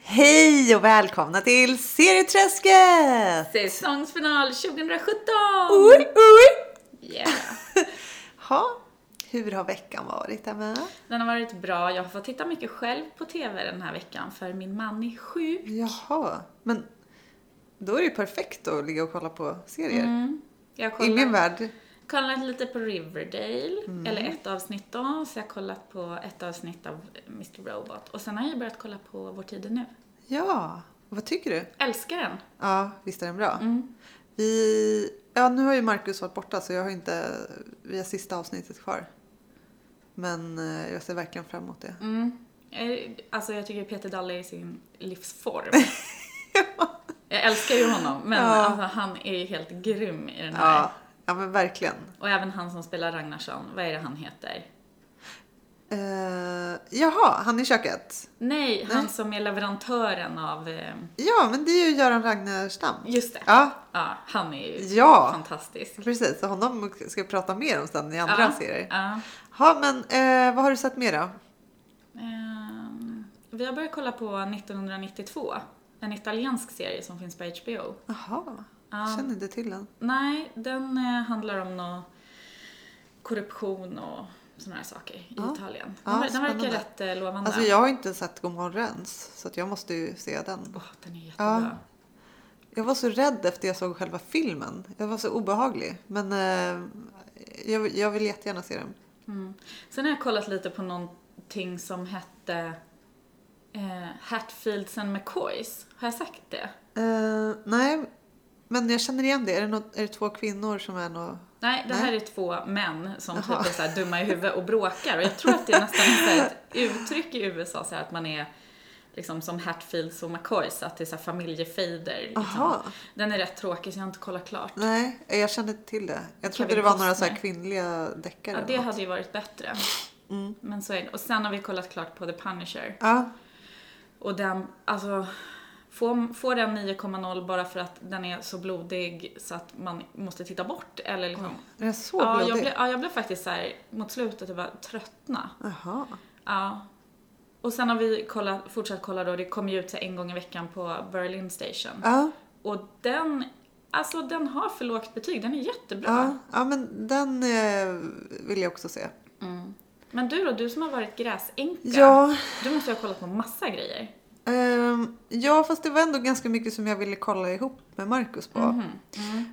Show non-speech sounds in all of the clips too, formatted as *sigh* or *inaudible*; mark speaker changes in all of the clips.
Speaker 1: Hej och välkomna till Serieträsket!
Speaker 2: Säsongsfinal 2017!
Speaker 1: Oj, oj!
Speaker 2: Yeah.
Speaker 1: Ha, hur har veckan varit Emma?
Speaker 2: Den har varit bra. Jag har fått titta mycket själv på TV den här veckan för min man är sjuk.
Speaker 1: Jaha, men då är det ju perfekt att ligga och kolla på serier.
Speaker 2: Mm. Jag har
Speaker 1: Mm. I min
Speaker 2: kollat,
Speaker 1: värld. Mm.
Speaker 2: kollat lite på Riverdale, eller ett avsnitt då, så jag har kollat på ett avsnitt av Mr Robot. Och sen har jag börjat kolla på Vår tid är nu.
Speaker 1: Ja, vad tycker du?
Speaker 2: Älskar den! Mm.
Speaker 1: Ja, visst är den bra? Vi... Ja, nu har ju Marcus varit borta så jag har inte... Vi har sista avsnittet kvar. Men eh, jag ser verkligen fram emot det.
Speaker 2: Eh, Alltså jag tycker Peter Dalle är i sin
Speaker 1: *laughs*
Speaker 2: livsform. Jag älskar ju honom, men alltså, han är ju helt grym i den här.
Speaker 1: Ja, ja men verkligen.
Speaker 2: Och även han som spelar Ragnarsson, vad är det han heter?
Speaker 1: Eh, jaha, han i köket.
Speaker 2: Nej, han som är leverantören av... eh,
Speaker 1: Ja, men det är ju Göran Ragnarstam.
Speaker 2: Just det.
Speaker 1: Ja,
Speaker 2: Ja, han är ju
Speaker 1: Ja.
Speaker 2: fantastisk.
Speaker 1: precis. Så honom ska vi prata mer om sen i andra
Speaker 2: Ja,
Speaker 1: serier.
Speaker 2: ja.
Speaker 1: Ja, men eh, vad har du sett mer då?
Speaker 2: Ehm, vi har börjat kolla på 1992, en italiensk serie som finns på HBO.
Speaker 1: Jaha,
Speaker 2: Ja.
Speaker 1: känner inte till den.
Speaker 2: Nej, den eh, handlar om nå korruption och sådana här saker i Italien. Den,
Speaker 1: Ja,
Speaker 2: ver- den verkar
Speaker 1: spännande.
Speaker 2: rätt eh, lovande.
Speaker 1: Alltså jag har inte sett Gomorron Rens, så att jag måste ju se den.
Speaker 2: Åh, den är jättebra.
Speaker 1: Jag var så rädd efter jag såg själva filmen. Jag var så obehaglig. Men eh, jag, jag vill jättegärna se den.
Speaker 2: Mm. Sen har jag kollat lite på någonting som hette eh, Hatfields and McCoys. Har jag sagt det?
Speaker 1: Eh, nej, men jag känner igen det. Är det, något, är det två kvinnor som är något...
Speaker 2: Nej, det
Speaker 1: Nej.
Speaker 2: här är två män som typ
Speaker 1: Jaha.
Speaker 2: är så här dumma i huvudet och bråkar. Och jag tror att det är nästan så här ett uttryck i USA så här att man är liksom som Hatfields och McCoys, att det är så här familjefejder. Liksom.
Speaker 1: Jaha.
Speaker 2: Den är rätt tråkig så jag har inte kollat klart.
Speaker 1: Nej, jag kände inte till det. Jag trodde
Speaker 2: Kevin
Speaker 1: det var några så
Speaker 2: Costner.
Speaker 1: här kvinnliga deckare.
Speaker 2: Ja, det
Speaker 1: eller något. Mm.
Speaker 2: hade ju varit bättre. Men så är det. Och sen har vi kollat klart på The Punisher.
Speaker 1: ja.
Speaker 2: Och den, alltså, får, får den 9,0 bara för att den är så blodig så att man måste titta bort? Eller liksom.
Speaker 1: Är det så
Speaker 2: Ja, jag
Speaker 1: blodig?
Speaker 2: blev, ja, jag blev faktiskt så här mot slutet och bara tröttna.
Speaker 1: Jaha.
Speaker 2: Ja. Och sen har vi kollat, fortsatt kolla då, det kommer ju ut så här en gång i veckan på Berlin Station.
Speaker 1: Ja,
Speaker 2: Och den, alltså den har för lågt betyg, den är jättebra.
Speaker 1: ja, ja, men den eh, vill jag också se.
Speaker 2: Mm. Men du då, du som har varit gräsänka.
Speaker 1: Ja.
Speaker 2: Du måste ju ha kollat på massa grejer.
Speaker 1: Ehm, ja, fast det var ändå ganska mycket som jag ville kolla ihop med Marcus på.
Speaker 2: Mhm.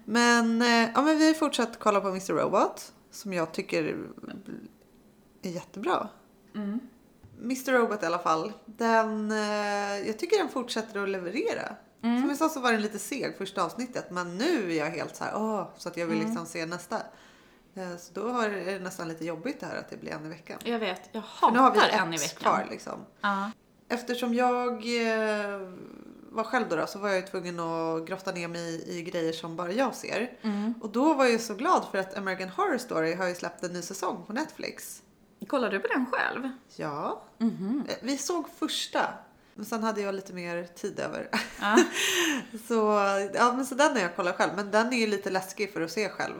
Speaker 1: Men, eh, ja, men vi har fortsatt kolla på Mr. Robot, som jag tycker är jättebra.
Speaker 2: Mm.
Speaker 1: Mr. Robot i alla fall, den, eh, jag tycker den fortsätter att leverera.
Speaker 2: Mm.
Speaker 1: Som jag sa så var den lite seg första avsnittet, men nu är jag helt så här, åh, så att jag
Speaker 2: Mm.
Speaker 1: vill liksom se nästa. Eh, Så då har- är det nästan lite jobbigt det här att det blir en i veckan.
Speaker 2: Jag vet, jag
Speaker 1: För nu har
Speaker 2: hatar
Speaker 1: vi
Speaker 2: en i
Speaker 1: ett
Speaker 2: veckan.
Speaker 1: kvar liksom.
Speaker 2: Ja.
Speaker 1: Eftersom jag eh, var själv då, då så var jag ju tvungen att grotta ner mig i, i grejer som bara jag ser. Och då var jag ju så glad för att American Horror Story har ju släppt en ny säsong på Netflix.
Speaker 2: Kollar du på den själv?
Speaker 1: Ja. Eh, Vi såg första. Men sen hade jag lite mer tid över.
Speaker 2: Ja.
Speaker 1: *laughs* så, ja, men så den har jag kollat själv. Men den är ju lite läskig för att se själv.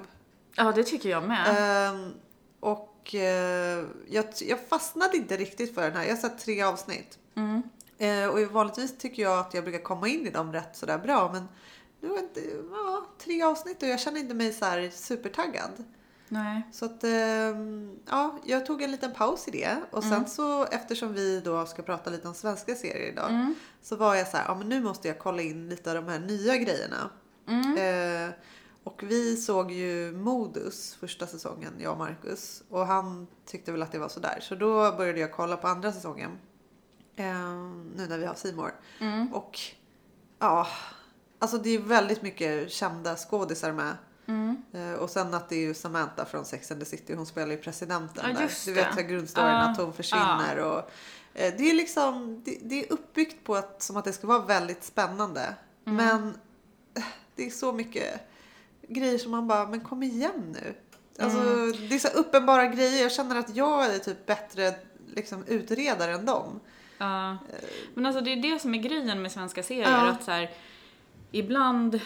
Speaker 2: Ja, det tycker jag med.
Speaker 1: Ehm, och eh, jag, jag fastnade inte riktigt för den här. Jag har sett tre avsnitt.
Speaker 2: Mm.
Speaker 1: Eh, och vanligtvis tycker jag att jag brukar komma in i dem rätt sådär bra. Men nu var inte, ja, tre avsnitt och jag känner inte mig så här supertaggad.
Speaker 2: Nej.
Speaker 1: Så att, ehm, ja, jag tog en liten paus i det. Och sen så eftersom vi då ska prata lite om svenska serier idag. Så var jag så här, ja men nu måste jag kolla in lite av de här nya grejerna. Eh, och vi såg ju Modus första säsongen, jag och Marcus. Och han tyckte väl att det var sådär. Så då började jag kolla på andra säsongen. Eh, nu när vi har Simor. Och ja, alltså det är väldigt mycket kända skådisar med. Eh, Och sen att det är ju Samantha från Sex and the City, hon spelar ju presidenten
Speaker 2: Ja,
Speaker 1: där.
Speaker 2: just
Speaker 1: Du
Speaker 2: det.
Speaker 1: vet så här grundstoryn
Speaker 2: Ja,
Speaker 1: att hon försvinner och eh, det är liksom, det, det är uppbyggt på att, som att det ska vara väldigt spännande.
Speaker 2: Mm.
Speaker 1: Men eh, det är så mycket grejer som man bara, men kom igen nu. Alltså
Speaker 2: Mm.
Speaker 1: det är så uppenbara grejer, jag känner att jag är typ bättre liksom utredare än dem.
Speaker 2: Ja. Men alltså det är det som är grejen med svenska serier,
Speaker 1: Ja.
Speaker 2: att så här, ibland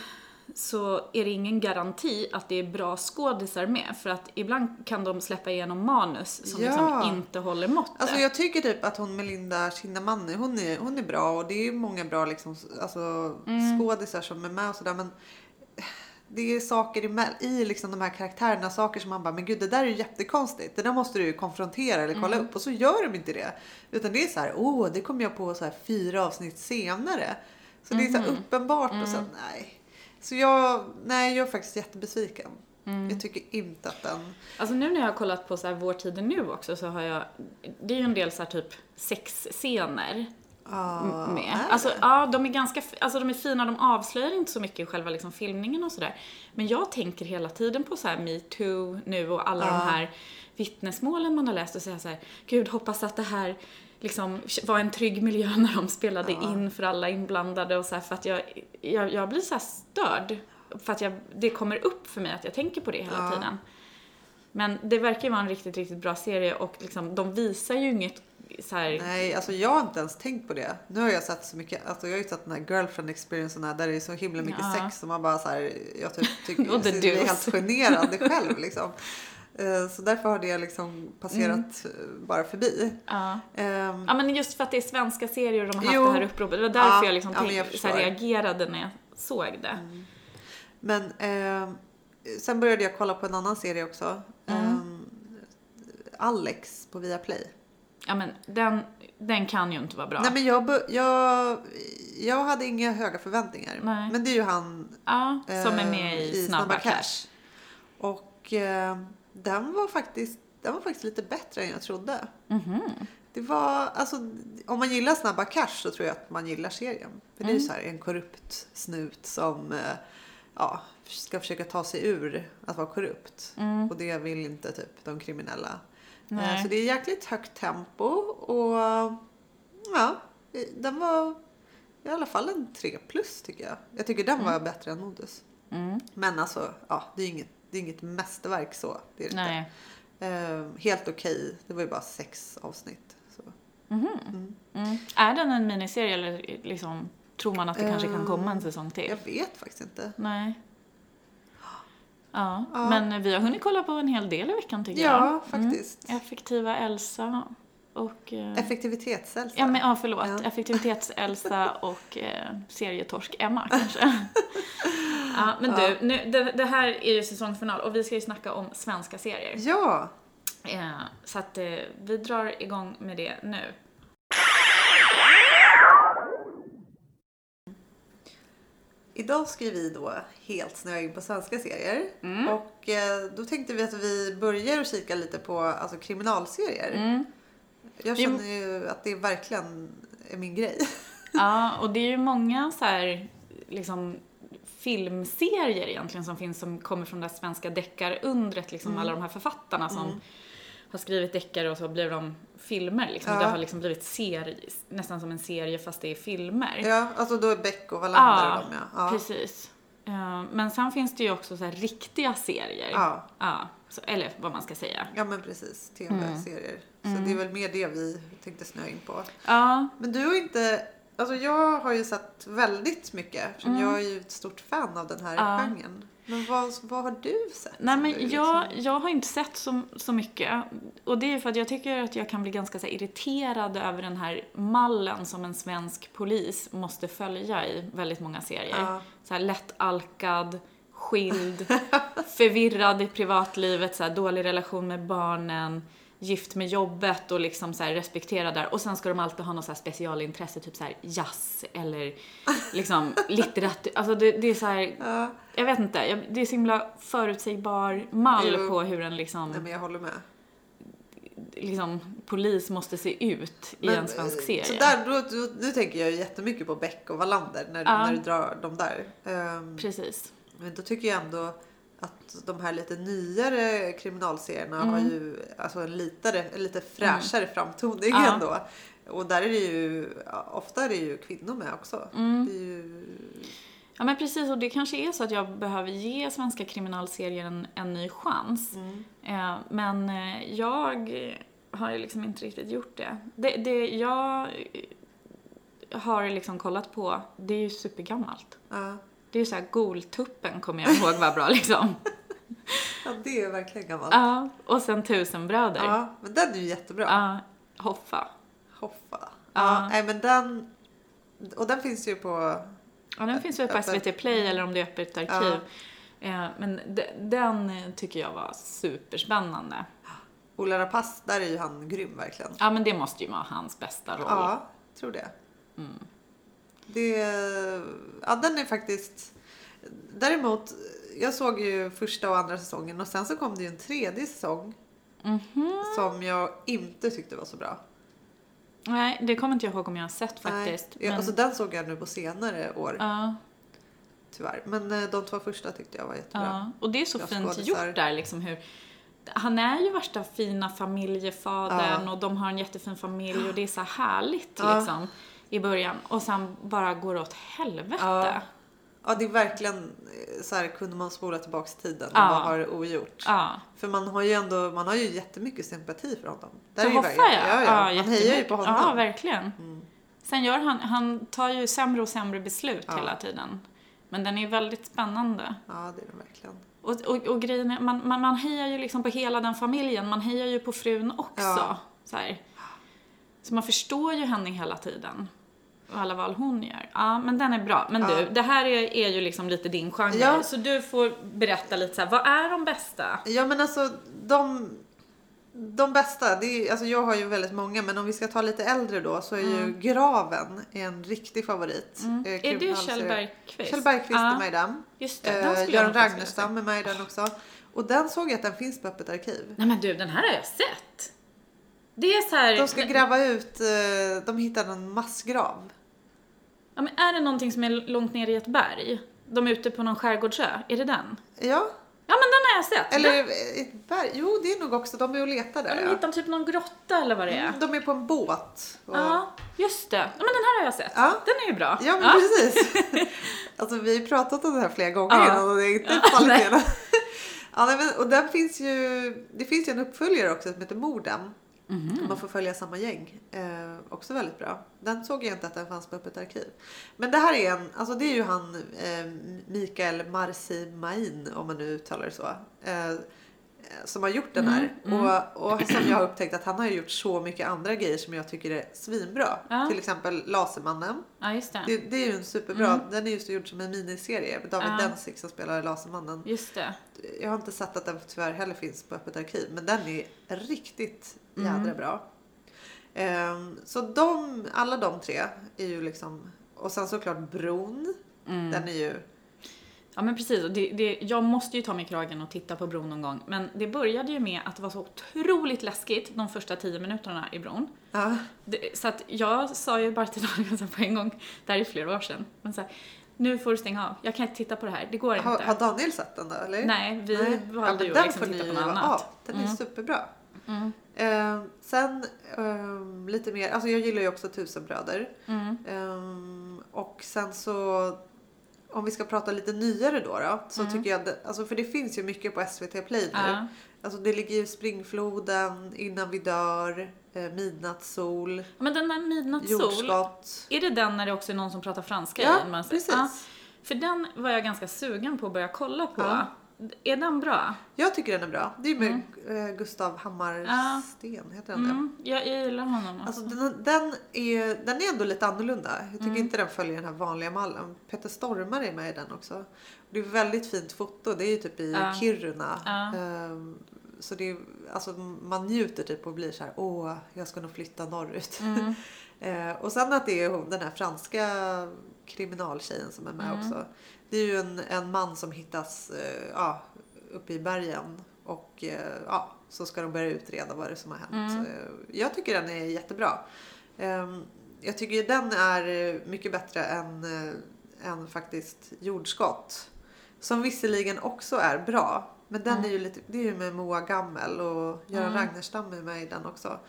Speaker 2: så är det ingen garanti att det är bra skådisar med. För att ibland kan de släppa igenom manus som
Speaker 1: Ja.
Speaker 2: liksom inte håller måttet.
Speaker 1: Alltså jag tycker typ att hon Melinda Kinnaman, hon är, hon är bra och det är ju många bra liksom, alltså, skådisar som är med och sådär men det är saker i, mell- i liksom de här karaktärerna, saker som man bara, men gud det där är ju jättekonstigt. Det där måste du ju konfrontera eller kolla upp och så gör de inte det. Utan det är så här, åh det kom jag på så här fyra avsnitt senare. Så det är så här uppenbart och sen nej. Så jag, nej jag är faktiskt jättebesviken. Jag tycker inte att den,
Speaker 2: Alltså nu när jag har kollat på så här Vår tid är nu också så har jag, det är ju en del så här typ sexscener
Speaker 1: ah,
Speaker 2: med.
Speaker 1: nej.
Speaker 2: Alltså ja, de är ganska, f- alltså de är fina, de avslöjar inte så mycket i själva liksom filmningen och sådär. Men jag tänker hela tiden på så här metoo nu och alla de här vittnesmålen man har läst och säga så här, gud hoppas att det här liksom var en trygg miljö *laughs* när de spelade in för alla inblandade och så här för att jag, jag, jag blir så här störd. För att jag, det kommer upp för mig att jag tänker på det hela tiden. Men det verkar ju vara en riktigt, riktigt bra serie och liksom, de visar ju inget så här,
Speaker 1: Nej, alltså jag har inte ens tänkt på det. Nu har jag sett så mycket, alltså jag har ju sett den här girlfriend experiencen här, där det är så himla mycket
Speaker 2: Ja.
Speaker 1: sex som man bara så här, jag typ tycker
Speaker 2: *laughs* Och the
Speaker 1: jag är
Speaker 2: deuce.
Speaker 1: helt generad själv liksom. Eh, Så därför har det liksom passerat eh, bara förbi.
Speaker 2: ja.
Speaker 1: Ehm,
Speaker 2: Mm. Ja men just för att det är svenska serier och de har haft
Speaker 1: Jo.
Speaker 2: det här uppropet. Det var därför
Speaker 1: Ja,
Speaker 2: jag liksom
Speaker 1: ja, men jag
Speaker 2: tänk, så här,
Speaker 1: förstår.
Speaker 2: reagerade när jag såg det.
Speaker 1: mm. Men ehm, sen började jag kolla på en annan serie också.
Speaker 2: Mm.
Speaker 1: Ehm, Alex på Viaplay.
Speaker 2: Ja men den, den kan ju inte vara bra.
Speaker 1: Nej men jag, bo- jag, jag hade inga höga förväntningar.
Speaker 2: Nej.
Speaker 1: Men det är ju han
Speaker 2: ja, som är
Speaker 1: eh,
Speaker 2: med i Snabba, Cash.
Speaker 1: Och eh, den var faktiskt den var faktiskt lite bättre än jag trodde.
Speaker 2: Mhm.
Speaker 1: Det var, alltså, om man gillar Snabba Cash så tror jag att man gillar serien. För det är ju
Speaker 2: Mm.
Speaker 1: så här en korrupt snut som eh, ja, ska försöka ta sig ur att vara korrupt. Och det vill inte typ de kriminella. Eh,
Speaker 2: Mm. Nej.
Speaker 1: Så det är jäkligt högt tempo och ja, eh, den var i alla fall en 3 plus tycker jag. Jag tycker den var bättre än Modus.
Speaker 2: Mm.
Speaker 1: Men alltså, ja, det är ju inget, det är inget mästerverk så. Det är det inte.
Speaker 2: Nej.
Speaker 1: Eh, helt okej. Det var ju bara sex avsnitt. Så.
Speaker 2: Mm. Är den en miniserie eller liksom, tror man att det kanske kan
Speaker 1: Eh,
Speaker 2: komma en säsong till?
Speaker 1: Jag vet faktiskt inte.
Speaker 2: Nej. Ja,
Speaker 1: Ja.
Speaker 2: men vi har hunnit kolla på en hel del i veckan tycker
Speaker 1: Ja,
Speaker 2: jag. Mm.
Speaker 1: faktiskt.
Speaker 2: Effektiva Elsa och... eh,
Speaker 1: Effektivitetshälsa.
Speaker 2: Ja, men, ja förlåt.
Speaker 1: Ja.
Speaker 2: Effektivitets-Elsa och eh,
Speaker 1: *laughs*
Speaker 2: serietorsk-Emma kanske. ja, men du, nu, det, det här är ju säsongsfinal och vi ska ju snacka om svenska serier.
Speaker 1: ja,
Speaker 2: Eh, så att eh, vi drar igång med det
Speaker 1: *laughs*
Speaker 2: nu.
Speaker 1: idag ska ju vi då helt snöa in på svenska serier.
Speaker 2: Mm.
Speaker 1: Och eh, då tänkte vi att vi börjar och kika lite på alltså, kriminalserier.
Speaker 2: Mm.
Speaker 1: Jag
Speaker 2: Jo.
Speaker 1: känner ju att det verkligen är min grej.
Speaker 2: Ja, och det är ju många så här, liksom filmserier egentligen som finns som kommer från det här svenska deckarundret, liksom
Speaker 1: Mm.
Speaker 2: alla de här författarna som har skrivit deckare och så blir de filmer liksom.
Speaker 1: Ja.
Speaker 2: Det har liksom blivit serie, nästan som en serie fast det är filmer.
Speaker 1: ja, alltså då är Beck och Wallander och dem ja. ja.
Speaker 2: precis. Eh, Men sen finns det ju också så här riktiga serier.
Speaker 1: Ja.
Speaker 2: så, eller vad man ska säga.
Speaker 1: Ja men precis,
Speaker 2: Mm.
Speaker 1: tv-serier. Så det är väl mer det vi tänkte snöa in på.
Speaker 2: Ja,
Speaker 1: Men du har inte, alltså jag har ju sett väldigt mycket eftersom jag är ju ett stort fan av den här
Speaker 2: Mm. Ja.
Speaker 1: genren. Men vad, vad har du sett?
Speaker 2: Nej
Speaker 1: som
Speaker 2: men
Speaker 1: du
Speaker 2: jag,
Speaker 1: liksom-
Speaker 2: jag har inte sett så, så mycket. Och det är ju för att jag tycker att jag kan bli ganska så här, irriterad över den här mallen som en svensk polis måste följa i väldigt många serier.
Speaker 1: Ja.
Speaker 2: Så här lättalkad, skild, förvirrad i privatlivet, så här, dålig relation med barnen, gift med jobbet och liksom så här, respektera där. Och sen ska de alltid ha något så här specialintresse, typ så här jazz eller liksom litteratur. Alltså det, det är så här
Speaker 1: Ja,
Speaker 2: jag vet inte, jag, det är så himla förutsägbar mall
Speaker 1: Jo.
Speaker 2: på hur en liksom,
Speaker 1: nej men jag håller med.
Speaker 2: liksom, polis måste se ut i
Speaker 1: Men,
Speaker 2: en svensk
Speaker 1: eh,
Speaker 2: serie.
Speaker 1: Så där, då, då, nu tänker jag ju jättemycket på Beck och Wallander när,
Speaker 2: Ja.
Speaker 1: när du drar dem där. Ehm,
Speaker 2: Precis.
Speaker 1: Men då tycker jag ändå att de här lite nyare kriminalserierna har
Speaker 2: Mm.
Speaker 1: ju alltså en, litare, en lite fräschare framtoning
Speaker 2: Ja.
Speaker 1: ändå. Och där är det ju, ofta är det ju kvinnor med också. Det är ju,
Speaker 2: Mm. Ja men precis, och det kanske är så att jag behöver ge svenska kriminalserier en, en ny chans. Eh, men eh, jag har ju liksom inte riktigt gjort det. Det, det jag har liksom kollat på, det är ju supergammalt.
Speaker 1: ja.
Speaker 2: Det är ju såhär, Goltuppen kommer jag ihåg var
Speaker 1: *laughs*
Speaker 2: bra liksom.
Speaker 1: Ja, det är verkligen gammalt. Ja,
Speaker 2: Ja, och sen Tusenbröder. Ja.
Speaker 1: men den är ju jättebra.
Speaker 2: Hoffa.
Speaker 1: Hoffa.
Speaker 2: Ja.
Speaker 1: Ja, nej men den... Och den finns ju på...
Speaker 2: Ja, den finns väl på
Speaker 1: Öppet.
Speaker 2: SVT Play eller om det är öppet arkiv. Eh, Men de- den tycker jag var superspännande.
Speaker 1: Ola Rapace, där är ju han grym verkligen.
Speaker 2: Ja, men det måste ju vara hans bästa roll.
Speaker 1: Ja, tror det.
Speaker 2: Mm.
Speaker 1: Det, ja, den är faktiskt... Däremot, jag såg ju första och andra säsongen och sen så kom det ju en tredje säsong
Speaker 2: Mhm.
Speaker 1: som jag inte tyckte var så bra.
Speaker 2: Nej, det kommer inte jag ihåg om jag har sett faktiskt.
Speaker 1: Nej, jag- alltså, den såg jag nu på senare år
Speaker 2: ja,
Speaker 1: tyvärr. Men eh, de två första tyckte jag var jättebra.
Speaker 2: ja. Och det är så
Speaker 1: Bra
Speaker 2: fint
Speaker 1: skådisar.
Speaker 2: gjort där liksom hur han är ju värsta fina familjefadern och de har en jättefin familj och det är så härligt
Speaker 1: Ja.
Speaker 2: liksom i början och sen bara går det åt helvete.
Speaker 1: Ja. Ja, det är verkligen eh, så här, kunde man spola tillbaks tiden och
Speaker 2: Ja.
Speaker 1: vad har det ogjort?
Speaker 2: Ja.
Speaker 1: För man har ju ändå, man har ju jättemycket sympati för honom. Där
Speaker 2: För
Speaker 1: är ju
Speaker 2: Hoffa
Speaker 1: verkligen-
Speaker 2: ja.
Speaker 1: ja, ja. Man
Speaker 2: jättemycket.
Speaker 1: hejar ju på honom. Mm.
Speaker 2: Ja, verkligen. Sen gör han, han tar ju sämre och sämre beslut hela tiden. Men den är väldigt spännande.
Speaker 1: Ja, det är den verkligen.
Speaker 2: Och, och, och grejen är, man, man, man hejar ju liksom på hela den familjen, man hejar ju på frun också.
Speaker 1: Ja.
Speaker 2: Så, här. så man förstår ju henne hela tiden. Och alla val hon gör. Ja, men den är bra. Men du, det här är, är ju liksom lite din genre.
Speaker 1: Ja.
Speaker 2: Så du får berätta lite så här, vad är de bästa?
Speaker 1: Ja, men alltså de, de bästa, det är, alltså jag har ju väldigt många, men om vi ska ta lite äldre då så är ju Graven en riktig favorit. Eh,
Speaker 2: Mm. Är det
Speaker 1: kriminalserie.
Speaker 2: Kjell Bergqvist?
Speaker 1: Kjell Bergqvist är
Speaker 2: ja.
Speaker 1: med i den.
Speaker 2: Just det, den
Speaker 1: Eh,
Speaker 2: skulle jag
Speaker 1: Göran
Speaker 2: nog faktiskt vilja se.
Speaker 1: Ragnarstam är med i den också. Och den såg jag att den finns på Öppet arkiv.
Speaker 2: Nej men du, den här har jag sett. Det är så här...
Speaker 1: De ska gräva ut, eh, de hittade en massgrav.
Speaker 2: ja, men är det någonting som är långt ner i ett berg? De är ute på någon skärgårdsö, är det den?
Speaker 1: Ja,
Speaker 2: Ja men den har jag sett.
Speaker 1: eller eh, ett berg. Jo, det är nog också, de är och letar där.
Speaker 2: den, de
Speaker 1: ja.
Speaker 2: hittar typ någon grotta eller vad det är.
Speaker 1: Mm, De är på en båt. Och,
Speaker 2: Ja, just det. Ja, men den här har jag sett.
Speaker 1: Ja.
Speaker 2: Den är ju bra.
Speaker 1: Ja men
Speaker 2: *laughs*
Speaker 1: precis. Alltså vi har pratat om det här flera gånger
Speaker 2: Ja.
Speaker 1: innan och det är inte
Speaker 2: Ja,
Speaker 1: fallit
Speaker 2: nej.
Speaker 1: igenom. *laughs* Ja, nej, men, och den finns ju, det finns ju en uppföljare också som heter Morden.
Speaker 2: Mhm. Mm.
Speaker 1: Man får följa samma gäng. Eh, också väldigt bra. Den såg jag inte att den fanns på Öppet arkiv. Men det här är en, alltså det är ju han eh, Mikael Marsimain om man nu uttalar det så. Eh, som har gjort
Speaker 2: Mm,
Speaker 1: den här. Och, och som jag har upptäckt att han har ju gjort så mycket andra grejer som jag tycker är svinbra.
Speaker 2: Ja.
Speaker 1: Till exempel Lasermannen.
Speaker 2: Ja, just det.
Speaker 1: Det, det är ju en superbra, den är just gjord som en miniserie. med David
Speaker 2: Ja.
Speaker 1: Dencik som spelar Lasermannen.
Speaker 2: Just det.
Speaker 1: Jag har inte sett att den tyvärr heller finns på Öppet arkiv, men den är riktigt jädra
Speaker 2: Mm.
Speaker 1: bra. Ehm, så de, alla de tre är ju liksom, och sen såklart Bron.
Speaker 2: Mm.
Speaker 1: Den är ju,
Speaker 2: Ja men precis, och det, det, jag måste ju ta mig i kragen och titta på bron någon gång. Men det började ju med att det var så otroligt läskigt de första tio minuterna i bron.
Speaker 1: ja,
Speaker 2: Det, så att jag sa ju bara till *laughs* Daniel så här på en gång, det här är flera år sedan, men så här, nu får du stänga av, jag kan inte titta på det här, det går inte.
Speaker 1: har, har Daniel sett den då eller?
Speaker 2: Nej, vi valde
Speaker 1: men
Speaker 2: ju att
Speaker 1: den
Speaker 2: liksom
Speaker 1: får
Speaker 2: titta
Speaker 1: ni
Speaker 2: på något
Speaker 1: ju-
Speaker 2: annat. Mm.
Speaker 1: Ja, den är superbra. Ehm, sen ehm, lite mer, alltså jag gillar ju också Tusenbröder.
Speaker 2: Mm.
Speaker 1: Ehm, och sen så om vi ska prata lite nyare då, då så tycker jag, det- alltså för det finns ju mycket på SVT Play nu.
Speaker 2: Mm. Ja.
Speaker 1: Alltså det ligger ju Springfloden, Innan vi dör, eh, Midnattssol,
Speaker 2: Men den där Midnattssol,
Speaker 1: Jordskott.
Speaker 2: är det den när det också är någon som pratar franska i
Speaker 1: Ja,
Speaker 2: den? Man säger-
Speaker 1: precis.
Speaker 2: Ja, för den var jag ganska sugen på att börja kolla på.
Speaker 1: Ja.
Speaker 2: Är den bra?
Speaker 1: Jag tycker den är bra. Det är ju med eh, Gustav Hammarsten, heter han det?
Speaker 2: Mm, jag, jag gillar honom.
Speaker 1: Alltså den, den, är, den är ändå lite annorlunda. Jag
Speaker 2: Mm.
Speaker 1: tycker inte den följer den här vanliga mallen. Peter Stormare är med i den också. Det är väldigt fint foto. Det är ju typ i
Speaker 2: Ja.
Speaker 1: Kiruna.
Speaker 2: Ja.
Speaker 1: Ehm, Så det är, alltså man njuter typ och blir så här, åh, jag ska nog flytta norrut.
Speaker 2: Mm.
Speaker 1: Eh, och sen att det är hon, den här franska kriminaltjejen som är med också. Det är ju en, en man som hittas eh, ja, uppe i bergen och eh, ja, så ska de börja utreda vad det är som har hänt. Eh, Jag tycker den är jättebra. Ehm, Jag tycker ju den är eh, mycket bättre än, eh, än faktiskt jordskott. Som visserligen också är bra. Men den är ju lite, det är ju med Moa Gammel och Göran Ragnarstam är med i den också.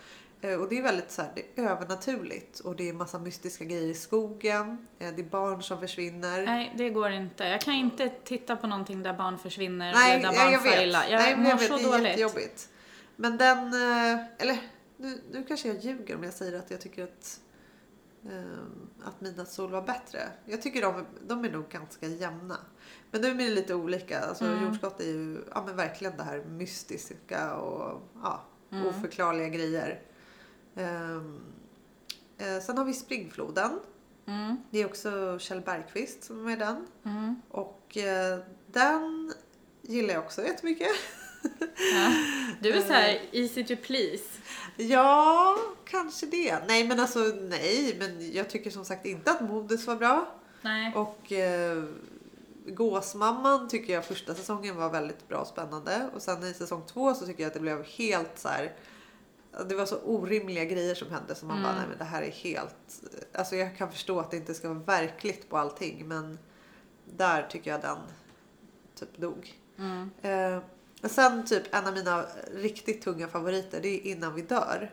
Speaker 1: Eh, Och det är väldigt så här, det är övernaturligt och det är massa mystiska grejer i skogen. eh, Det är barn som försvinner.
Speaker 2: Nej, det går inte. Jag kan inte titta på någonting där barn försvinner
Speaker 1: Nej,
Speaker 2: eller där
Speaker 1: jag,
Speaker 2: barn
Speaker 1: jag
Speaker 2: far
Speaker 1: vet.
Speaker 2: illa. Jag
Speaker 1: Nej, men
Speaker 2: mår
Speaker 1: jag vet.
Speaker 2: så
Speaker 1: Det är
Speaker 2: dåligt.
Speaker 1: jättejobbigt. Men den, eh, eller nu, nu kanske jag ljuger om jag säger att jag tycker att ehm, att Midnattssol var bättre. Jag tycker de, de är nog ganska jämna. Men de är lite olika. Alltså,
Speaker 2: Mm.
Speaker 1: Jordskott är ju ja, men verkligen det här mystiska och ja,
Speaker 2: Mm.
Speaker 1: oförklarliga grejer. Ehm, eh, sen har vi Springfloden.
Speaker 2: Mm.
Speaker 1: Det är också Kjell Bergqvist som är med i den.
Speaker 2: Mm.
Speaker 1: Och eh, den gillar jag också jättemycket.
Speaker 2: Ja. Du är
Speaker 1: Eh.
Speaker 2: såhär easy to please.
Speaker 1: Ja, kanske det. Nej, men alltså nej, men jag tycker som sagt inte att Modus var bra.
Speaker 2: Nej.
Speaker 1: Och eh, Gåsmamman tycker jag första säsongen var väldigt bra och spännande. Och sen i säsong två så tycker jag att det blev helt så här. Det var så orimliga grejer som hände som man bara, nej men det här är helt. Alltså jag kan förstå att det inte ska vara verkligt på allting, men där tycker jag den typ dog.
Speaker 2: Mm.
Speaker 1: Eh, och sen typ en av mina riktigt tunga favoriter, det är Innan vi dör.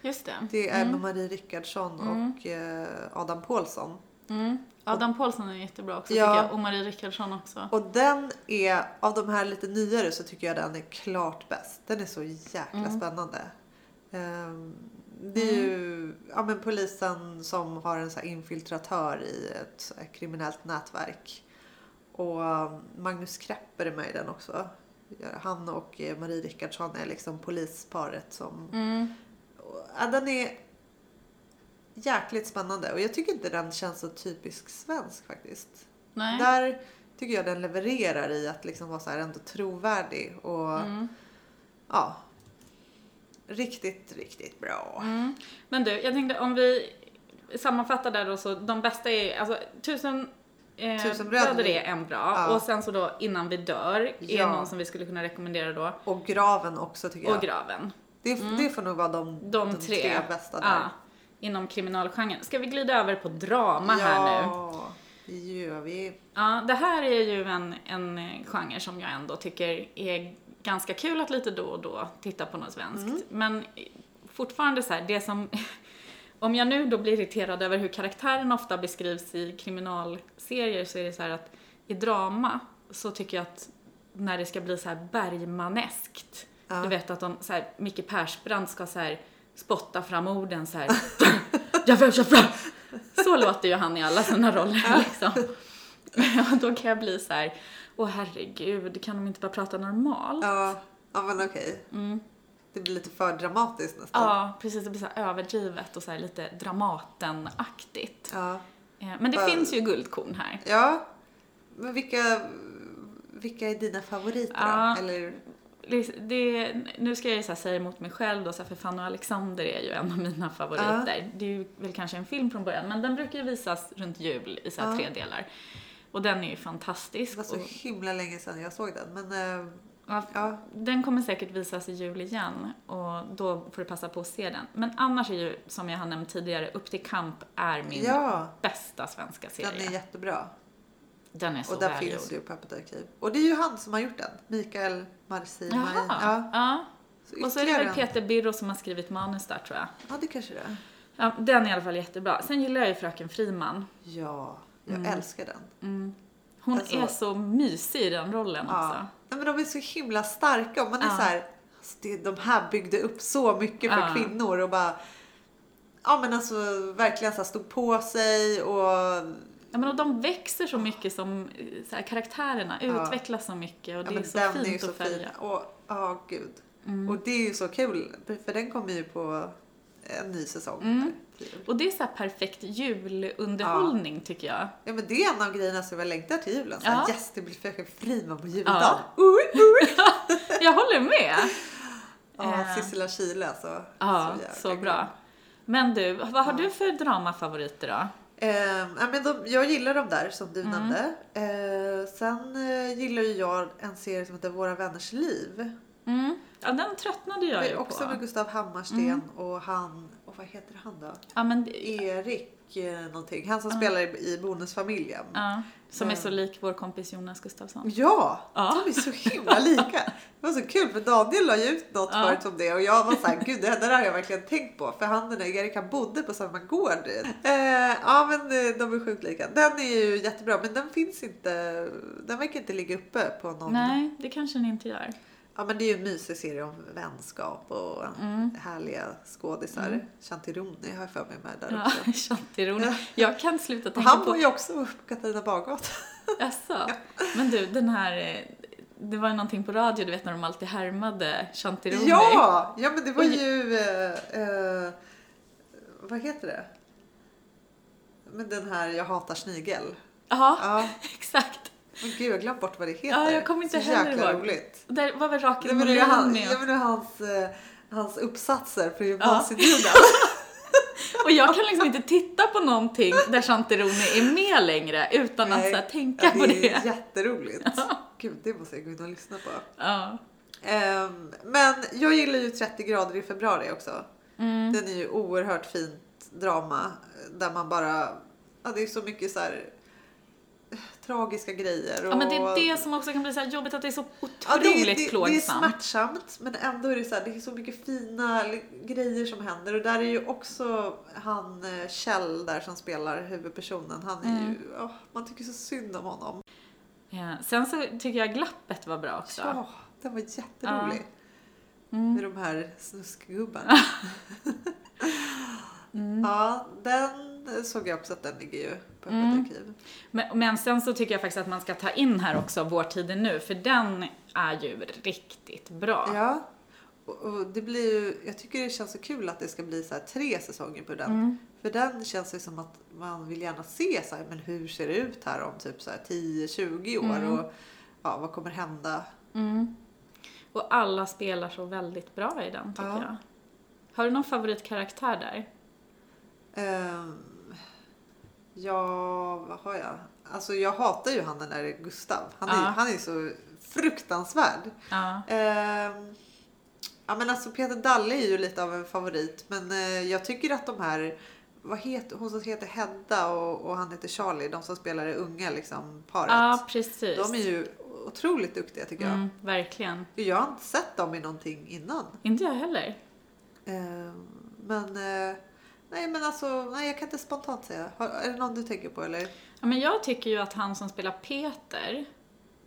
Speaker 2: Just det.
Speaker 1: Det är med Marie Rickardsson och eh, Adam Pålsson.
Speaker 2: Mm. Adam Paulsson är jättebra också
Speaker 1: Ja.
Speaker 2: tycker jag. Och Marie Rickardsson också.
Speaker 1: Och den är, av de här lite nyare så tycker jag den är klart bäst. Den är så jäkla spännande. Ehm, det är ju ja, men polisen som har en så här infiltratör i ett så här kriminellt nätverk. Och um, Magnus Krepper är med i den också. Han och eh, Marie Rickardsson är liksom polisparet som...
Speaker 2: Mm.
Speaker 1: Och, Ja, den är jäkligt spännande och jag tycker inte den känns så typisk svensk faktiskt.
Speaker 2: Nej.
Speaker 1: Där tycker jag den levererar i att liksom vara så här ändå trovärdig och
Speaker 2: Mm.
Speaker 1: ja. Riktigt, riktigt bra.
Speaker 2: Mm. Men du, jag tänkte om vi sammanfattar där då så de bästa är alltså tusen Eh,
Speaker 1: Tusen bröder.
Speaker 2: bröder. är en bra
Speaker 1: Ja.
Speaker 2: och sen så då innan vi dör är
Speaker 1: Ja.
Speaker 2: någon som vi skulle kunna rekommendera då
Speaker 1: Och graven också tycker jag.
Speaker 2: och graven.
Speaker 1: det, det får nog vara de,
Speaker 2: De, tre.
Speaker 1: bästa där.
Speaker 2: Ja, inom kriminalgenren. Ska vi glida över på drama här nu?
Speaker 1: Ja, det gör vi.
Speaker 2: Ja, det här är ju en, en genre som jag ändå tycker är ganska kul att lite då och då titta på något svenskt.
Speaker 1: Mm.
Speaker 2: Men fortfarande så här, det som... *laughs* Om jag nu då blir irriterad över hur karaktären ofta beskrivs i kriminalserier så är det så här att i drama så tycker jag att när det ska bli så här Bergmaneskt,
Speaker 1: Ja.
Speaker 2: du vet att de, så här, Micke Persbrandt ska så här spotta fram orden så här. jag vill, jag vill. Så låter ju han i alla sina roller liksom. *laughs* Och då kan jag bli så här, åh herregud, kan de inte bara prata normalt?
Speaker 1: Ja, ja men okej. Det blir lite för dramatiskt nästan.
Speaker 2: Mm. Ja, precis, det blir så här överdrivet och så här lite Dramaten-aktigt.
Speaker 1: Ja.
Speaker 2: Eh, Men det
Speaker 1: Bara-
Speaker 2: finns ju guldkorn här.
Speaker 1: ja. Men vilka, vilka är dina favoriter
Speaker 2: Ja.
Speaker 1: då? Eller,
Speaker 2: Det- Det, nu ska jag ju så här säga emot mig själv då, så här, för Fanny och Alexander är ju en av mina favoriter. Det är ju väl kanske en film från början, men den brukar ju visas runt jul i så här
Speaker 1: Ja.
Speaker 2: tre delar. Och den är ju
Speaker 1: det
Speaker 2: fantastisk.
Speaker 1: var så
Speaker 2: och-
Speaker 1: himla länge sedan jag såg den. Men eh,
Speaker 2: Ja,
Speaker 1: ja.
Speaker 2: Den kommer säkert visas i jul igen och då får du passa på att se den. Men annars är ju, som jag har nämnt tidigare, Upp till kamp är min
Speaker 1: ja.
Speaker 2: bästa svenska
Speaker 1: Den är
Speaker 2: serie.
Speaker 1: jättebra.
Speaker 2: Den är så
Speaker 1: och där
Speaker 2: välgjord.
Speaker 1: finns ju på Öppet arkiv. Och det är ju han som har gjort den. Mikael Marci
Speaker 2: Jaha,
Speaker 1: Ja,
Speaker 2: ja.
Speaker 1: så
Speaker 2: Och så är det
Speaker 1: ytterligare
Speaker 2: väl
Speaker 1: en.
Speaker 2: Peter Birro som har skrivit manus där tror jag.
Speaker 1: Ja, det kanske det är.
Speaker 2: Ja, den är i alla fall jättebra. Sen gillar jag ju Fröken Friman.
Speaker 1: Ja, jag
Speaker 2: Mm.
Speaker 1: älskar den.
Speaker 2: Hon
Speaker 1: Alltså-
Speaker 2: är så mysig i den rollen också.
Speaker 1: Ja. Nej, men de är så himla starka och man är
Speaker 2: Ja.
Speaker 1: så här. Alltså, det, de här byggde upp så mycket för
Speaker 2: Ja.
Speaker 1: kvinnor och bara. Ja, men alltså verkligen så här stod på sig och
Speaker 2: Ja, men och de växer så mycket som eh, så här, karaktärerna
Speaker 1: Ja.
Speaker 2: utvecklas så mycket och det
Speaker 1: ja, men
Speaker 2: är så
Speaker 1: den
Speaker 2: fint
Speaker 1: är ju
Speaker 2: att
Speaker 1: så fin.
Speaker 2: följa. Mm.
Speaker 1: Och ja, gud. Och det är ju så kul för den kommer ju på en ny säsong.
Speaker 2: Mm.
Speaker 1: Kul.
Speaker 2: Och det är så här perfekt julunderhållning tycker jag.
Speaker 1: Ja men det är en av grejerna som jag längtar till julen. Såhär,
Speaker 2: Ja.
Speaker 1: Yes, det blir fröken Friman på juldagen.
Speaker 2: *laughs* Ja.
Speaker 1: Ja, uh, uh.
Speaker 2: Jag håller med.
Speaker 1: ja
Speaker 2: Eh.
Speaker 1: Sissela Kyle alltså.
Speaker 2: Ja,
Speaker 1: jävla
Speaker 2: så,
Speaker 1: kul.
Speaker 2: bra. Men du, vad har du för dramafavoriter då?
Speaker 1: Eh, ja, men de, jag gillar de där som
Speaker 2: Mm.
Speaker 1: du nämnde. Eh, sen eh, gillar ju jag en serie som heter Våra vänners liv.
Speaker 2: Mm. Ja, den tröttnade
Speaker 1: Det
Speaker 2: jag
Speaker 1: är
Speaker 2: ju
Speaker 1: också med
Speaker 2: på. Mm.
Speaker 1: Gustav Hammarsten och han, och vad heter han då?
Speaker 2: Ja, men, det-
Speaker 1: Erik eh, någonting. Han som spelar i, i Bonusfamiljen.
Speaker 2: ja, som är
Speaker 1: Eh.
Speaker 2: så lik vår kompis Jonas Gustafsson.
Speaker 1: Ja,
Speaker 2: Ja.
Speaker 1: de är så himla lika. Det var så kul för Daniel la ju ut något
Speaker 2: Ja.
Speaker 1: förut om det och jag var såhär, gud det där har jag verkligen tänkt på för han och Erik han bodde på samma gård. Eh, ja men eh, de är sjukt lika. Den är ju jättebra men den finns inte, den verkar inte ligga uppe på någon.
Speaker 2: Nej, det kanske den inte gör.
Speaker 1: Ja men det är ju en mysig serie om vänskap och härliga skådisar. Shanti Rooney har jag för mig med där
Speaker 2: Mm. Ja, *laughs*
Speaker 1: också.
Speaker 2: Chantironi. Jag kan sluta
Speaker 1: Och
Speaker 2: tänka
Speaker 1: han
Speaker 2: på...
Speaker 1: bor ju också upp Katarina Bargata.
Speaker 2: Jaså? Men du, den här... eh, Det var ju någonting på radio, du vet när de alltid härmade Chantironi.
Speaker 1: Ja! Ja men det var
Speaker 2: Och-
Speaker 1: ju... Eh, eh, vad heter det? Men den här Jag hatar snigel.
Speaker 2: Ja, *laughs*
Speaker 1: Ja,
Speaker 2: exakt.
Speaker 1: men gud jag har glömt bort vad det heter.
Speaker 2: Ja, jag kommer inte
Speaker 1: Så
Speaker 2: heller
Speaker 1: jäkla
Speaker 2: ihåg.
Speaker 1: roligt.
Speaker 2: Där var väl
Speaker 1: Jag
Speaker 2: Rakel
Speaker 1: menar ju han,
Speaker 2: Molin
Speaker 1: jag
Speaker 2: med.
Speaker 1: menar hans, eh, hans uppsatser på
Speaker 2: *laughs*
Speaker 1: gymnasieskolan.
Speaker 2: Och jag kan liksom inte titta på någonting där Chantironi är med längre utan att
Speaker 1: Nej.
Speaker 2: så här, tänka på
Speaker 1: det är
Speaker 2: det.
Speaker 1: jätteroligt. Gud, det måste jag gå in och lyssna på.
Speaker 2: Ja.
Speaker 1: Ehm, men jag gillar ju 30 grader i februari också.
Speaker 2: Mm.
Speaker 1: Den är ju oerhört fint drama där man bara, ja det är så mycket så här eh, tragiska grejer. Och,
Speaker 2: ja, men det är det som också kan bli så här jobbigt att det är så otroligt
Speaker 1: Ja, det, är- det, det är
Speaker 2: plågsamt.
Speaker 1: smärtsamt men ändå är det så här, det är så mycket fina li- grejer som händer och där är ju också han eh, Kjell där som spelar huvudpersonen, han är
Speaker 2: Mm.
Speaker 1: ju, åh, man tycker så synd om honom.
Speaker 2: Ja. Sen så tycker jag glappet var bra också.
Speaker 1: Ja, den var
Speaker 2: Mm.
Speaker 1: jätterolig. Med de här
Speaker 2: *laughs*
Speaker 1: snuskgubbarna.
Speaker 2: mm.
Speaker 1: Ja, den såg jag också att den ligger ju på
Speaker 2: Mm.
Speaker 1: öppet arkiv.
Speaker 2: Men, men sen så tycker jag faktiskt att man ska ta in här också Vår tid är nu, för den är ju riktigt bra.
Speaker 1: Ja. Och, och det blir ju, jag tycker det känns så kul att det ska bli så här tre säsonger på den.
Speaker 2: Mm,
Speaker 1: För den känns ju som att man vill gärna se så här, men hur ser det ut här om typ så här 10-20 år och ja, vad kommer hända?
Speaker 2: mm. Och alla spelar så väldigt bra i den tycker
Speaker 1: Ja.
Speaker 2: jag. Har du någon favoritkaraktär där?
Speaker 1: Ehm, ja, vad har jag? Alltså jag hatar ju han den där Gustav. Han är,
Speaker 2: Ja.
Speaker 1: han är så fruktansvärd.
Speaker 2: Ja.
Speaker 1: Ehm, ja men alltså Peter Dalle är ju lite av en favorit men eh, jag tycker att de här, vad heter, hon som heter Hedda och, och han heter Charlie, de som spelar det unga liksom paret.
Speaker 2: Ja, precis.
Speaker 1: de är ju otroligt duktiga tycker jag.
Speaker 2: mm, verkligen.
Speaker 1: Jag har inte sett dem i någonting innan.
Speaker 2: Inte jag heller.
Speaker 1: Ehm, men eh, nej men alltså, nej jag kan inte spontant säga. Har, är det någon du tänker på eller?
Speaker 2: Ja, men jag tycker ju att han som spelar Peter,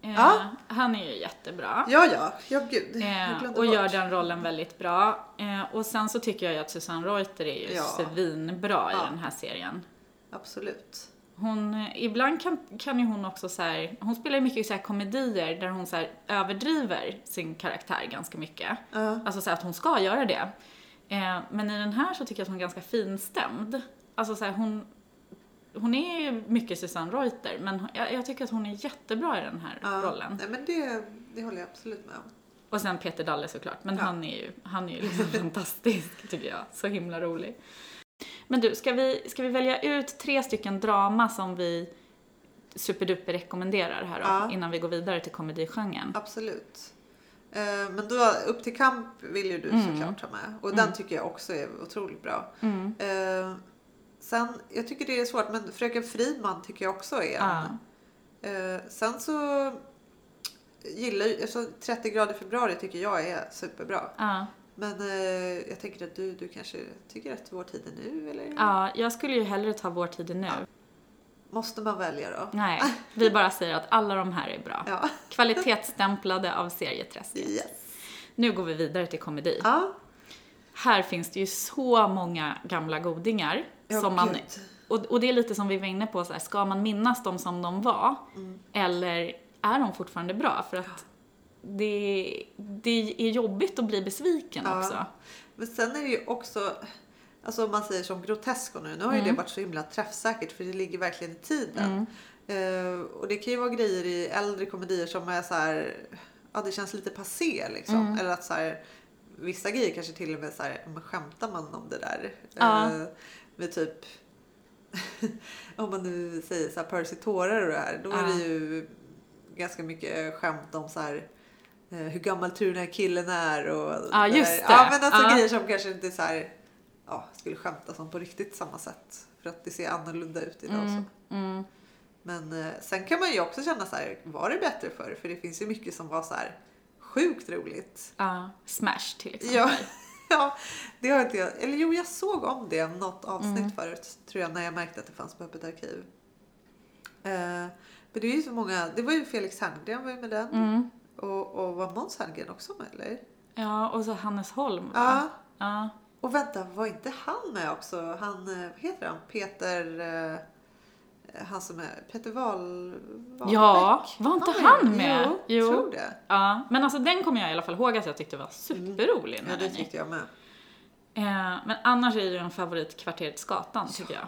Speaker 2: eh,
Speaker 1: Ja.
Speaker 2: han är ju jättebra.
Speaker 1: Ja ja, ja gud. jag
Speaker 2: Eh,
Speaker 1: glömde
Speaker 2: och
Speaker 1: bort.
Speaker 2: gör den rollen väldigt bra. Eh, och sen så tycker jag ju att Susanne Reuter är ju
Speaker 1: Ja.
Speaker 2: svinbra
Speaker 1: Ja.
Speaker 2: i den här serien.
Speaker 1: Absolut.
Speaker 2: Hon, eh, ibland kan, kan ju hon också så här, hon spelar ju mycket så här komedier där hon så här överdriver sin karaktär ganska mycket.
Speaker 1: Ja.
Speaker 2: Alltså så här att hon ska göra det. Eh, men i den här så tycker jag att hon är ganska finstämd. Alltså så här, hon, hon är ju mycket Susanne Reuter men hon- jag, jag tycker att hon är jättebra i den här
Speaker 1: Ja.
Speaker 2: rollen.
Speaker 1: Nej men det, det håller jag absolut med om.
Speaker 2: Och sen Peter Dalle såklart, men
Speaker 1: Ja.
Speaker 2: han är ju, han är
Speaker 1: *laughs*
Speaker 2: ju liksom fantastisk tycker jag. Så himla rolig. Men du, ska vi, ska vi välja ut tre stycken drama som vi superduper rekommenderar här då,
Speaker 1: Ja.
Speaker 2: innan vi går vidare till komedigenren?
Speaker 1: Absolut. Eh, Men då, Upp till kamp vill ju du
Speaker 2: Mm.
Speaker 1: såklart ha med. Och den tycker jag också är otroligt bra.
Speaker 2: Mm.
Speaker 1: Eh, Sen, jag tycker det är svårt, men Fröken Friman tycker jag också är
Speaker 2: Ah.
Speaker 1: en. Eh, Sen så gillar ju, alltså 30 grader februari tycker jag är superbra.
Speaker 2: Ja.
Speaker 1: Men eh, jag tänker att du, du kanske tycker att vår tid är nu eller?
Speaker 2: ja, jag skulle ju hellre ta Vår tid är nu.
Speaker 1: Måste man välja då?
Speaker 2: Nej, vi bara säger att alla de här är bra.
Speaker 1: Ja.
Speaker 2: Kvalitetsstämplade av serieträsket.
Speaker 1: Yes.
Speaker 2: Nu går vi vidare till komedi.
Speaker 1: Ja.
Speaker 2: Här finns det ju så många gamla godingar
Speaker 1: Ja,
Speaker 2: som man
Speaker 1: gud.
Speaker 2: Och, och det är lite som vi var inne på, så här, ska man minnas dem som de var?
Speaker 1: Mm.
Speaker 2: Eller är de fortfarande bra? För att det, det är jobbigt att bli besviken
Speaker 1: Ja.
Speaker 2: också.
Speaker 1: Men sen är det ju också, alltså om man säger som Grotesco nu, nu har ju det varit så himla träffsäkert för det ligger verkligen i tiden.
Speaker 2: Mm.
Speaker 1: Eh, och det kan ju vara grejer i äldre komedier som är så här, ja det känns lite passé liksom.
Speaker 2: Mm.
Speaker 1: Eller att så här, vissa grejer kanske till och med så här, men skämtar man om det där?
Speaker 2: Ja.
Speaker 1: Eh, med typ, *laughs* om man nu säger så här Percy tårar och det här, då är det
Speaker 2: Ja.
Speaker 1: ju ganska mycket skämt om så här eh, hur gammal tror du den här killen är och
Speaker 2: Ja,
Speaker 1: där.
Speaker 2: just det.
Speaker 1: Ja, men alltså
Speaker 2: Ja.
Speaker 1: grejer som kanske inte så här, ja, skulle skämtas om på riktigt samma sätt. För att det ser annorlunda ut idag. och Så.
Speaker 2: Mm.
Speaker 1: Men eh, sen kan man ju också känna så här, var det bättre förr? För det finns ju mycket som var så här sjukt roligt.
Speaker 2: Ja. Smash till exempel.
Speaker 1: Ja, *laughs* ja det har inte jag. Eller jo, jag såg om det något avsnitt
Speaker 2: Mm.
Speaker 1: förut tror jag när jag märkte att det fanns på Öppet arkiv. Eh, men det är ju så många, det var ju Felix Herngren var ju med den.
Speaker 2: Mm.
Speaker 1: Och, och var Måns Hallgren också med eller?
Speaker 2: Ja, och så Hannes Holm va?
Speaker 1: Ja.
Speaker 2: Ja.
Speaker 1: Och vänta, var inte han med också? Han, eh, vad heter han? Peter... Eh, han som är Peter Wahl... Wahlbeck?
Speaker 2: Ah, Ja, var inte han med?
Speaker 1: Jo,
Speaker 2: Jo.
Speaker 1: tror det.
Speaker 2: Ja, men alltså den kommer jag i alla fall ihåg att jag tyckte var superrolig när
Speaker 1: Ja, det
Speaker 2: den gick.
Speaker 1: tyckte jag med.
Speaker 2: Eh, men annars är ju en favorit Kvarteret Skatan tycker jag.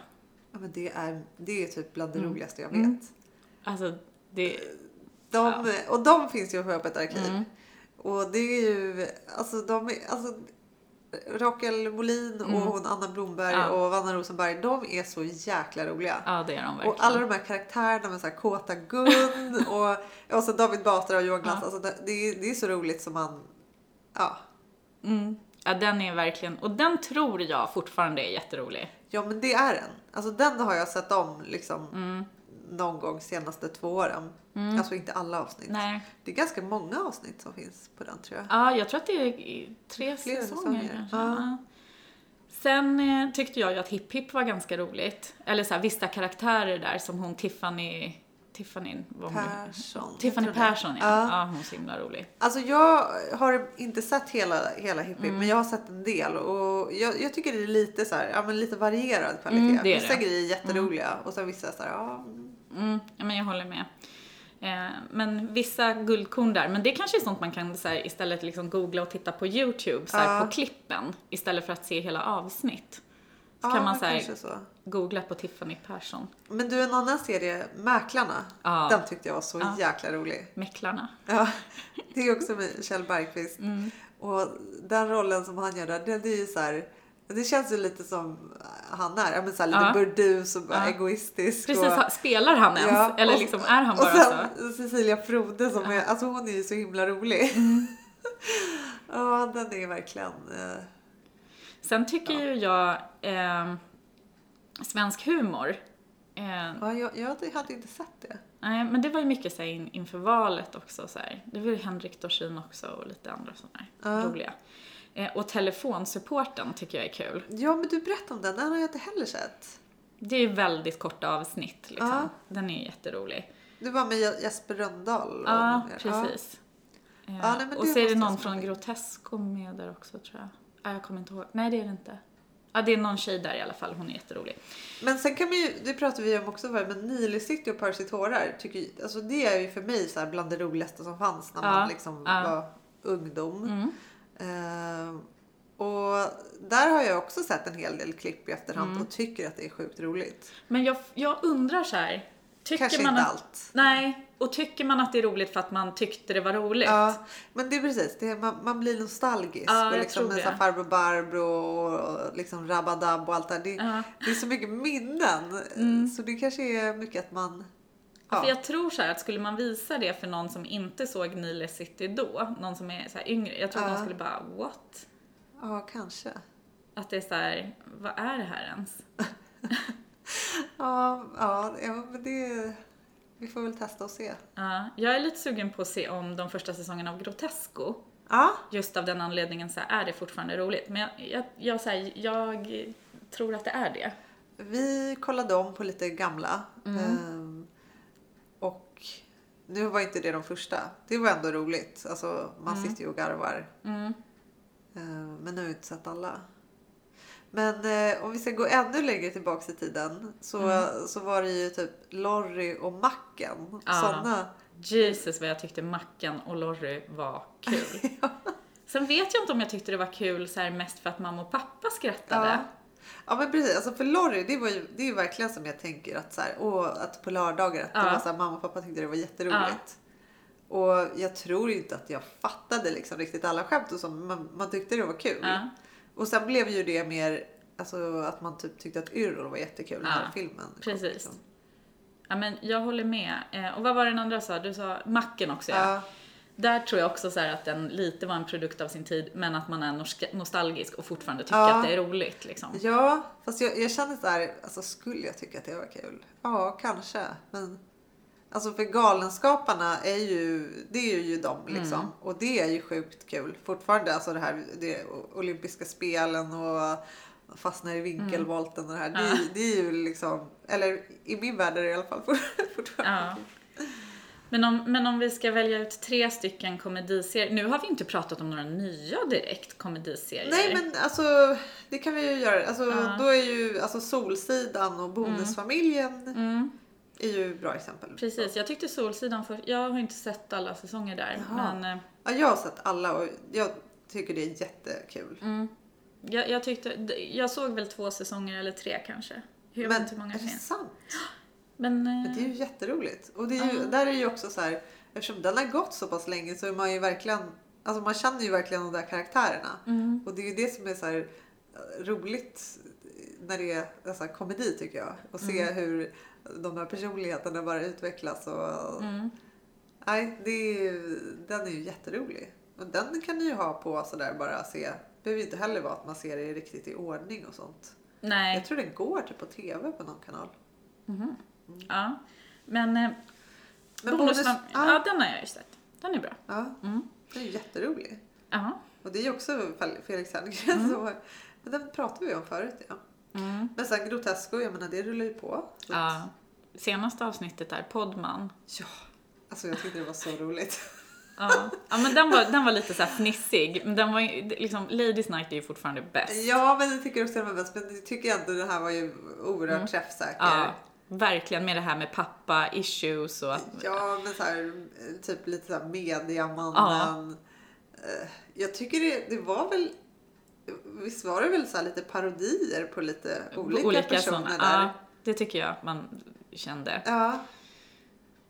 Speaker 1: Ja, men det, är, det är typ bland det roligaste jag vet.
Speaker 2: Mm. Alltså, det...
Speaker 1: De, Och de finns ju på Öppet arkiv. Och det är ju, alltså de är, alltså Rakel Molin och hon Anna Blomberg
Speaker 2: Ja.
Speaker 1: och Vanna Rosenberg, de är så jäkla roliga.
Speaker 2: Ja, det är de verkligen.
Speaker 1: Och alla de här karaktärerna med så här Kåta Gun och, och så David Batra och Johan Glans. Alltså det, det, är, det är så roligt som man... Ja.
Speaker 2: Mm. Ja, den är verkligen... Och den tror jag fortfarande är jätterolig.
Speaker 1: ja, men det är den. Alltså den har jag sett om liksom någon gång senaste två åren. Alltså inte alla avsnitt.
Speaker 2: Mm. Nej.
Speaker 1: Det är ganska många avsnitt som finns på den tror jag.
Speaker 2: Ja, jag tror att det är i tre
Speaker 1: Fler
Speaker 2: säsonger.
Speaker 1: säsonger,
Speaker 2: kanske.
Speaker 1: ja.
Speaker 2: Ja. Sen eh, tyckte jag ju att Hipp Hipp var ganska roligt. Eller så här, vissa karaktärer där som hon Tiffany... Tiffany, vad hon nu-
Speaker 1: Persson. jag
Speaker 2: Tiffany
Speaker 1: tror det.
Speaker 2: Persson, ja.
Speaker 1: Ja.
Speaker 2: ja. hon är så himla rolig.
Speaker 1: Alltså jag har inte sett hela, hela hippie
Speaker 2: Mm.
Speaker 1: men jag har sett en del och jag, jag tycker det är lite så här, ja men lite varierad kvalitet.
Speaker 2: Mm, det är
Speaker 1: vissa
Speaker 2: det.
Speaker 1: grejer är jätteroliga och sen vissa så här, ja. mm.
Speaker 2: Mm, ja, men jag håller med. Eh, men vissa guldkorn där, men det kanske är sånt man kan så här, istället liksom googla och titta på YouTube, så här,
Speaker 1: Ja.
Speaker 2: på klippen, istället för att se hela avsnitt. Så
Speaker 1: Ja,
Speaker 2: kan man så här,
Speaker 1: kanske så.
Speaker 2: googla på Tiffany Persson,
Speaker 1: Men du, en annan serie, Mäklarna,
Speaker 2: Ja.
Speaker 1: den tyckte jag var så jäkla rolig.
Speaker 2: Mäklarna.
Speaker 1: Ja, det är också med Kjell Bergqvist.
Speaker 2: Mm.
Speaker 1: Och den rollen som han gör där, den är ju så här, det känns ju lite som han är, ja, men så här, lite
Speaker 2: Ja.
Speaker 1: burdus och bara
Speaker 2: Ja.
Speaker 1: egoistisk.
Speaker 2: Precis,
Speaker 1: och,
Speaker 2: ha- spelar han ens?
Speaker 1: Ja,
Speaker 2: Eller
Speaker 1: och-
Speaker 2: liksom, är han
Speaker 1: Och
Speaker 2: bara så?
Speaker 1: sen Cecilia Frode som är, alltså hon är ju så himla rolig.
Speaker 2: Mm.
Speaker 1: *laughs* Ja, den är verkligen... eh,
Speaker 2: Sen tycker ju jag, eh, svensk humor, eh,
Speaker 1: Ja, jag, jag hade inte sett det.
Speaker 2: Nej, men det var ju mycket så här, in, inför valet också. Så här. Det var ju Henrik Dorsin också och lite andra sådana här
Speaker 1: Ja.
Speaker 2: roliga. Eh, och telefonsupporten tycker jag är kul.
Speaker 1: Ja, men du berättade om den. Den har jag inte heller sett.
Speaker 2: Det är ju väldigt korta avsnitt liksom.
Speaker 1: Ja.
Speaker 2: Den är ju jätterolig.
Speaker 1: Du var med Je- Jesper Rönndahl. och
Speaker 2: Ja,
Speaker 1: någon mer.
Speaker 2: precis. Eh,
Speaker 1: Ja, nej, men
Speaker 2: och
Speaker 1: det
Speaker 2: så
Speaker 1: måste
Speaker 2: är det
Speaker 1: jag spela
Speaker 2: någon från
Speaker 1: in.
Speaker 2: Grotesco med där också tror jag. Nej, jag kommer inte ihåg. Nej, det är det inte. Ja, det är någon tjej där i alla fall. Hon är jätterolig.
Speaker 1: Men sen kan man ju, det pratade vi om också förut, men Nile City och Percy tårar, tycker, ju- alltså det är ju för mig så här bland det roligaste som fanns när
Speaker 2: Ja,
Speaker 1: man liksom
Speaker 2: ja.
Speaker 1: var ungdom.
Speaker 2: Mm.
Speaker 1: Ehm, och där har jag också sett en hel del klipp i efterhand
Speaker 2: Mm.
Speaker 1: och tycker att det är sjukt roligt.
Speaker 2: Men jag, jag undrar så här. Tycker
Speaker 1: Kanske
Speaker 2: man
Speaker 1: inte
Speaker 2: att,
Speaker 1: allt.
Speaker 2: Nej, och tycker man att det är roligt för att man tyckte det var roligt?
Speaker 1: Ja, men det är precis, det är, man, man blir nostalgisk.
Speaker 2: Ja,
Speaker 1: och
Speaker 2: jag
Speaker 1: liksom
Speaker 2: tror
Speaker 1: med så här
Speaker 2: det.
Speaker 1: farbror Barbro och, och liksom Rabadab och allt det där. Det,
Speaker 2: Ja. Mm.
Speaker 1: det är så mycket minnen. Så det kanske är mycket att man...
Speaker 2: För
Speaker 1: Ja,
Speaker 2: jag tror så här att skulle man visa det för någon som inte såg Nile City då, någon som är så här yngre, jag tror
Speaker 1: Ja.
Speaker 2: de skulle bara what?
Speaker 1: ja kanske.
Speaker 2: Att det är så här, vad är det här ens?
Speaker 1: Ja, ja, ja, men det... Vi får väl testa och se.
Speaker 2: Ja, jag är lite sugen på att se om de första säsongerna av Grotesco,
Speaker 1: Ja,
Speaker 2: just av den anledningen så här, är det fortfarande roligt? Men jag, jag, jag, så här, jag tror att det är det.
Speaker 1: vi kollade om på lite gamla. Ehm, och nu var inte det de första. Det var ändå roligt. Alltså, man sitter ju och garvar.
Speaker 2: Mm.
Speaker 1: Ehm, men nu har jag inte sett alla. Men eh, om vi ska gå ännu längre tillbaks i tiden så, så var det ju typ Lorry och Macken.
Speaker 2: Ja.
Speaker 1: Sådana.
Speaker 2: Jesus vad jag tyckte Mackan och Lorry var
Speaker 1: *laughs*
Speaker 2: kul. Sen vet jag inte om jag tyckte det var kul så här, mest för att mamma och pappa skrattade.
Speaker 1: Ja. ja men precis, alltså för Lorry det, var ju, det är ju verkligen som jag tänker att, så här, åh, att på lördagar att det
Speaker 2: Ja.
Speaker 1: var så här, mamma och pappa tyckte det var jätteroligt. Och jag tror ju inte att jag fattade liksom riktigt alla skämt och så, men man, man tyckte det var kul.
Speaker 2: Ja.
Speaker 1: Och sen blev ju det mer alltså, att man typ tyckte att Yrrol var jättekul, den här
Speaker 2: Ja,
Speaker 1: filmen. kom,
Speaker 2: precis.
Speaker 1: liksom.
Speaker 2: Ja, men jag håller med. Eh, och vad var den andra sa? Du sa macken också ja.
Speaker 1: Ja.
Speaker 2: Där tror jag också så här att den lite var en produkt av sin tid, men att man är norsk- nostalgisk och fortfarande tycker
Speaker 1: Ja.
Speaker 2: att det är roligt liksom.
Speaker 1: Ja, fast jag, jag kände så här, alltså skulle jag tycka att det var kul? Ja, kanske. Men alltså för Galenskaparna är ju, det är ju de liksom. Och det är ju sjukt kul fortfarande. Alltså det här det, olympiska spelen och fastnar i vinkelvolten och det här. Det, är- det är ju liksom, eller i min värld är det i alla fall fort- fortfarande
Speaker 2: Ja. Men om, men om vi ska välja ut tre stycken komediserier. Nu har vi inte pratat om några nya direkt komediserier.
Speaker 1: Nej men alltså det kan vi ju göra. Alltså, Då är ju alltså, Solsidan och Bonusfamiljen är ju bra exempel.
Speaker 2: Mm, Precis, jag tyckte Solsidan för, Jag har inte sett alla säsonger där.
Speaker 1: Jaha.
Speaker 2: Men eh,
Speaker 1: Ja, jag har sett alla och jag tycker det är jättekul.
Speaker 2: mm. jag, jag tyckte... d- Jag såg väl två säsonger eller tre kanske. Jag vet
Speaker 1: men
Speaker 2: inte hur många
Speaker 1: är
Speaker 2: det
Speaker 1: det
Speaker 2: finns.
Speaker 1: sant?
Speaker 2: Men, eh,
Speaker 1: Men det är ju jätteroligt. Och det är ju, där är ju också så här, eftersom den har gått så pass länge så är man ju verkligen, alltså man känner ju verkligen de där karaktärerna.
Speaker 2: mm.
Speaker 1: Och det är ju det som är så här eh, roligt när det är alltså, komedi tycker jag. Och se
Speaker 2: Mm.
Speaker 1: hur de här personligheterna bara utvecklas. Och,
Speaker 2: Mm.
Speaker 1: Nej, det är ju, den är ju jätterolig. Och den kan ni ju ha på sådär bara se. Det behöver ju inte heller vara att man ser det riktigt i ordning och sånt.
Speaker 2: nej.
Speaker 1: Jag tror den går typ på TV på någon kanal.
Speaker 2: Ja. Men, eh,
Speaker 1: Men
Speaker 2: bonus,
Speaker 1: bonus-
Speaker 2: ja. Mm.
Speaker 1: ja.
Speaker 2: den har jag ju sett. Den är bra.
Speaker 1: Ja, den är ju jätterolig.
Speaker 2: Ja.
Speaker 1: Och det är ju också Fel- Felix Herngren.
Speaker 2: Mm.
Speaker 1: så- Men den pratade vi om förut. Ja. Men sen Grotesco, jag menar det rullar ju på. Så att-
Speaker 2: ja. Senaste avsnittet där, Podman.
Speaker 1: ja. Alltså jag tyckte det var så roligt.
Speaker 2: Ja, ja men den var, den var lite så här fnissig. Men den var ju- liksom, Ladies Night är ju fortfarande bäst.
Speaker 1: Ja, men jag tycker också den var bäst. Men jag tycker ändå den här var ju oerhört träffsäker.
Speaker 2: Mm. Ja, verkligen med det här med pappa, issues och att...
Speaker 1: Ja, men så här, eh, typ lite så här mediamannen. Eh, Jag tycker det, det var väl, visst var det väl så här lite parodier på lite olika, personer
Speaker 2: såna-
Speaker 1: där.
Speaker 2: Ja, det tycker jag man kände.
Speaker 1: Ja.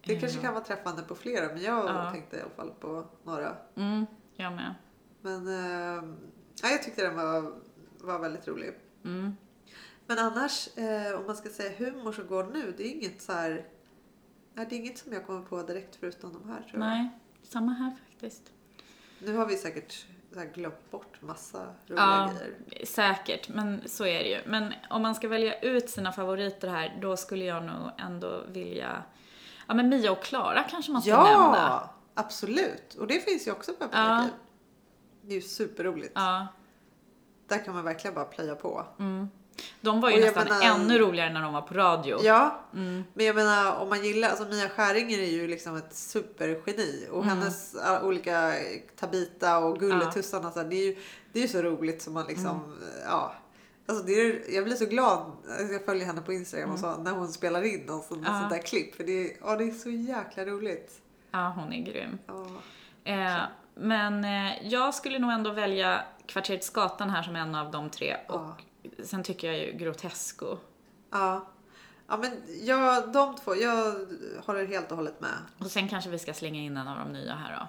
Speaker 1: Det kanske kan vara träffande på flera, men jag
Speaker 2: Ja.
Speaker 1: tänkte i alla fall på några.
Speaker 2: Mm, jag med.
Speaker 1: Men eh, ja, jag tyckte den var, var väldigt rolig.
Speaker 2: Mm.
Speaker 1: Men annars, eh, om man ska säga humor som går nu, det är inget så här... Nej, det är inget som jag kommer på direkt förutom de här tror jag.
Speaker 2: Nej, samma här faktiskt.
Speaker 1: Nu har vi säkert så här, glömt bort massa roliga
Speaker 2: Ja,
Speaker 1: grejer.
Speaker 2: säkert, men så är det ju. Men om man ska välja ut sina favoriter här, då skulle jag nog ändå vilja... Ja, men Mia och Klara kanske man ska nämna.
Speaker 1: Ja, absolut! Och det finns ju också på Apple
Speaker 2: Ja.
Speaker 1: Archive. Det är ju superroligt.
Speaker 2: Ja. Mm.
Speaker 1: Där kan man verkligen bara plöja på.
Speaker 2: De var ju
Speaker 1: Och jag
Speaker 2: nästan
Speaker 1: menar-
Speaker 2: ännu roligare när de var på radio. Mm.
Speaker 1: Ja, men jag menar om man gillar, alltså Mia Skäringer är ju liksom ett supergeni och
Speaker 2: Mm.
Speaker 1: hennes alla olika Tabita och Gulletussarna, så här, det, är ju, det är ju så roligt som man liksom,
Speaker 2: Mm.
Speaker 1: ja. Alltså det är, jag blir så glad, alltså, jag följer henne på Instagram och
Speaker 2: Mm.
Speaker 1: så, när hon spelar in någon sån, sånt där klipp, för det är, ja, det är så jäkla roligt.
Speaker 2: Ja, hon är grym.
Speaker 1: Ja.
Speaker 2: Eh, men eh, jag skulle nog ändå välja Kvarteret Skatan här som en av de tre. Och
Speaker 1: Ja.
Speaker 2: sen tycker jag ju Grotesco.
Speaker 1: Ja. ja, men jag, de två, jag håller helt och hållet med.
Speaker 2: Och sen kanske vi ska slänga in en av de nya här då.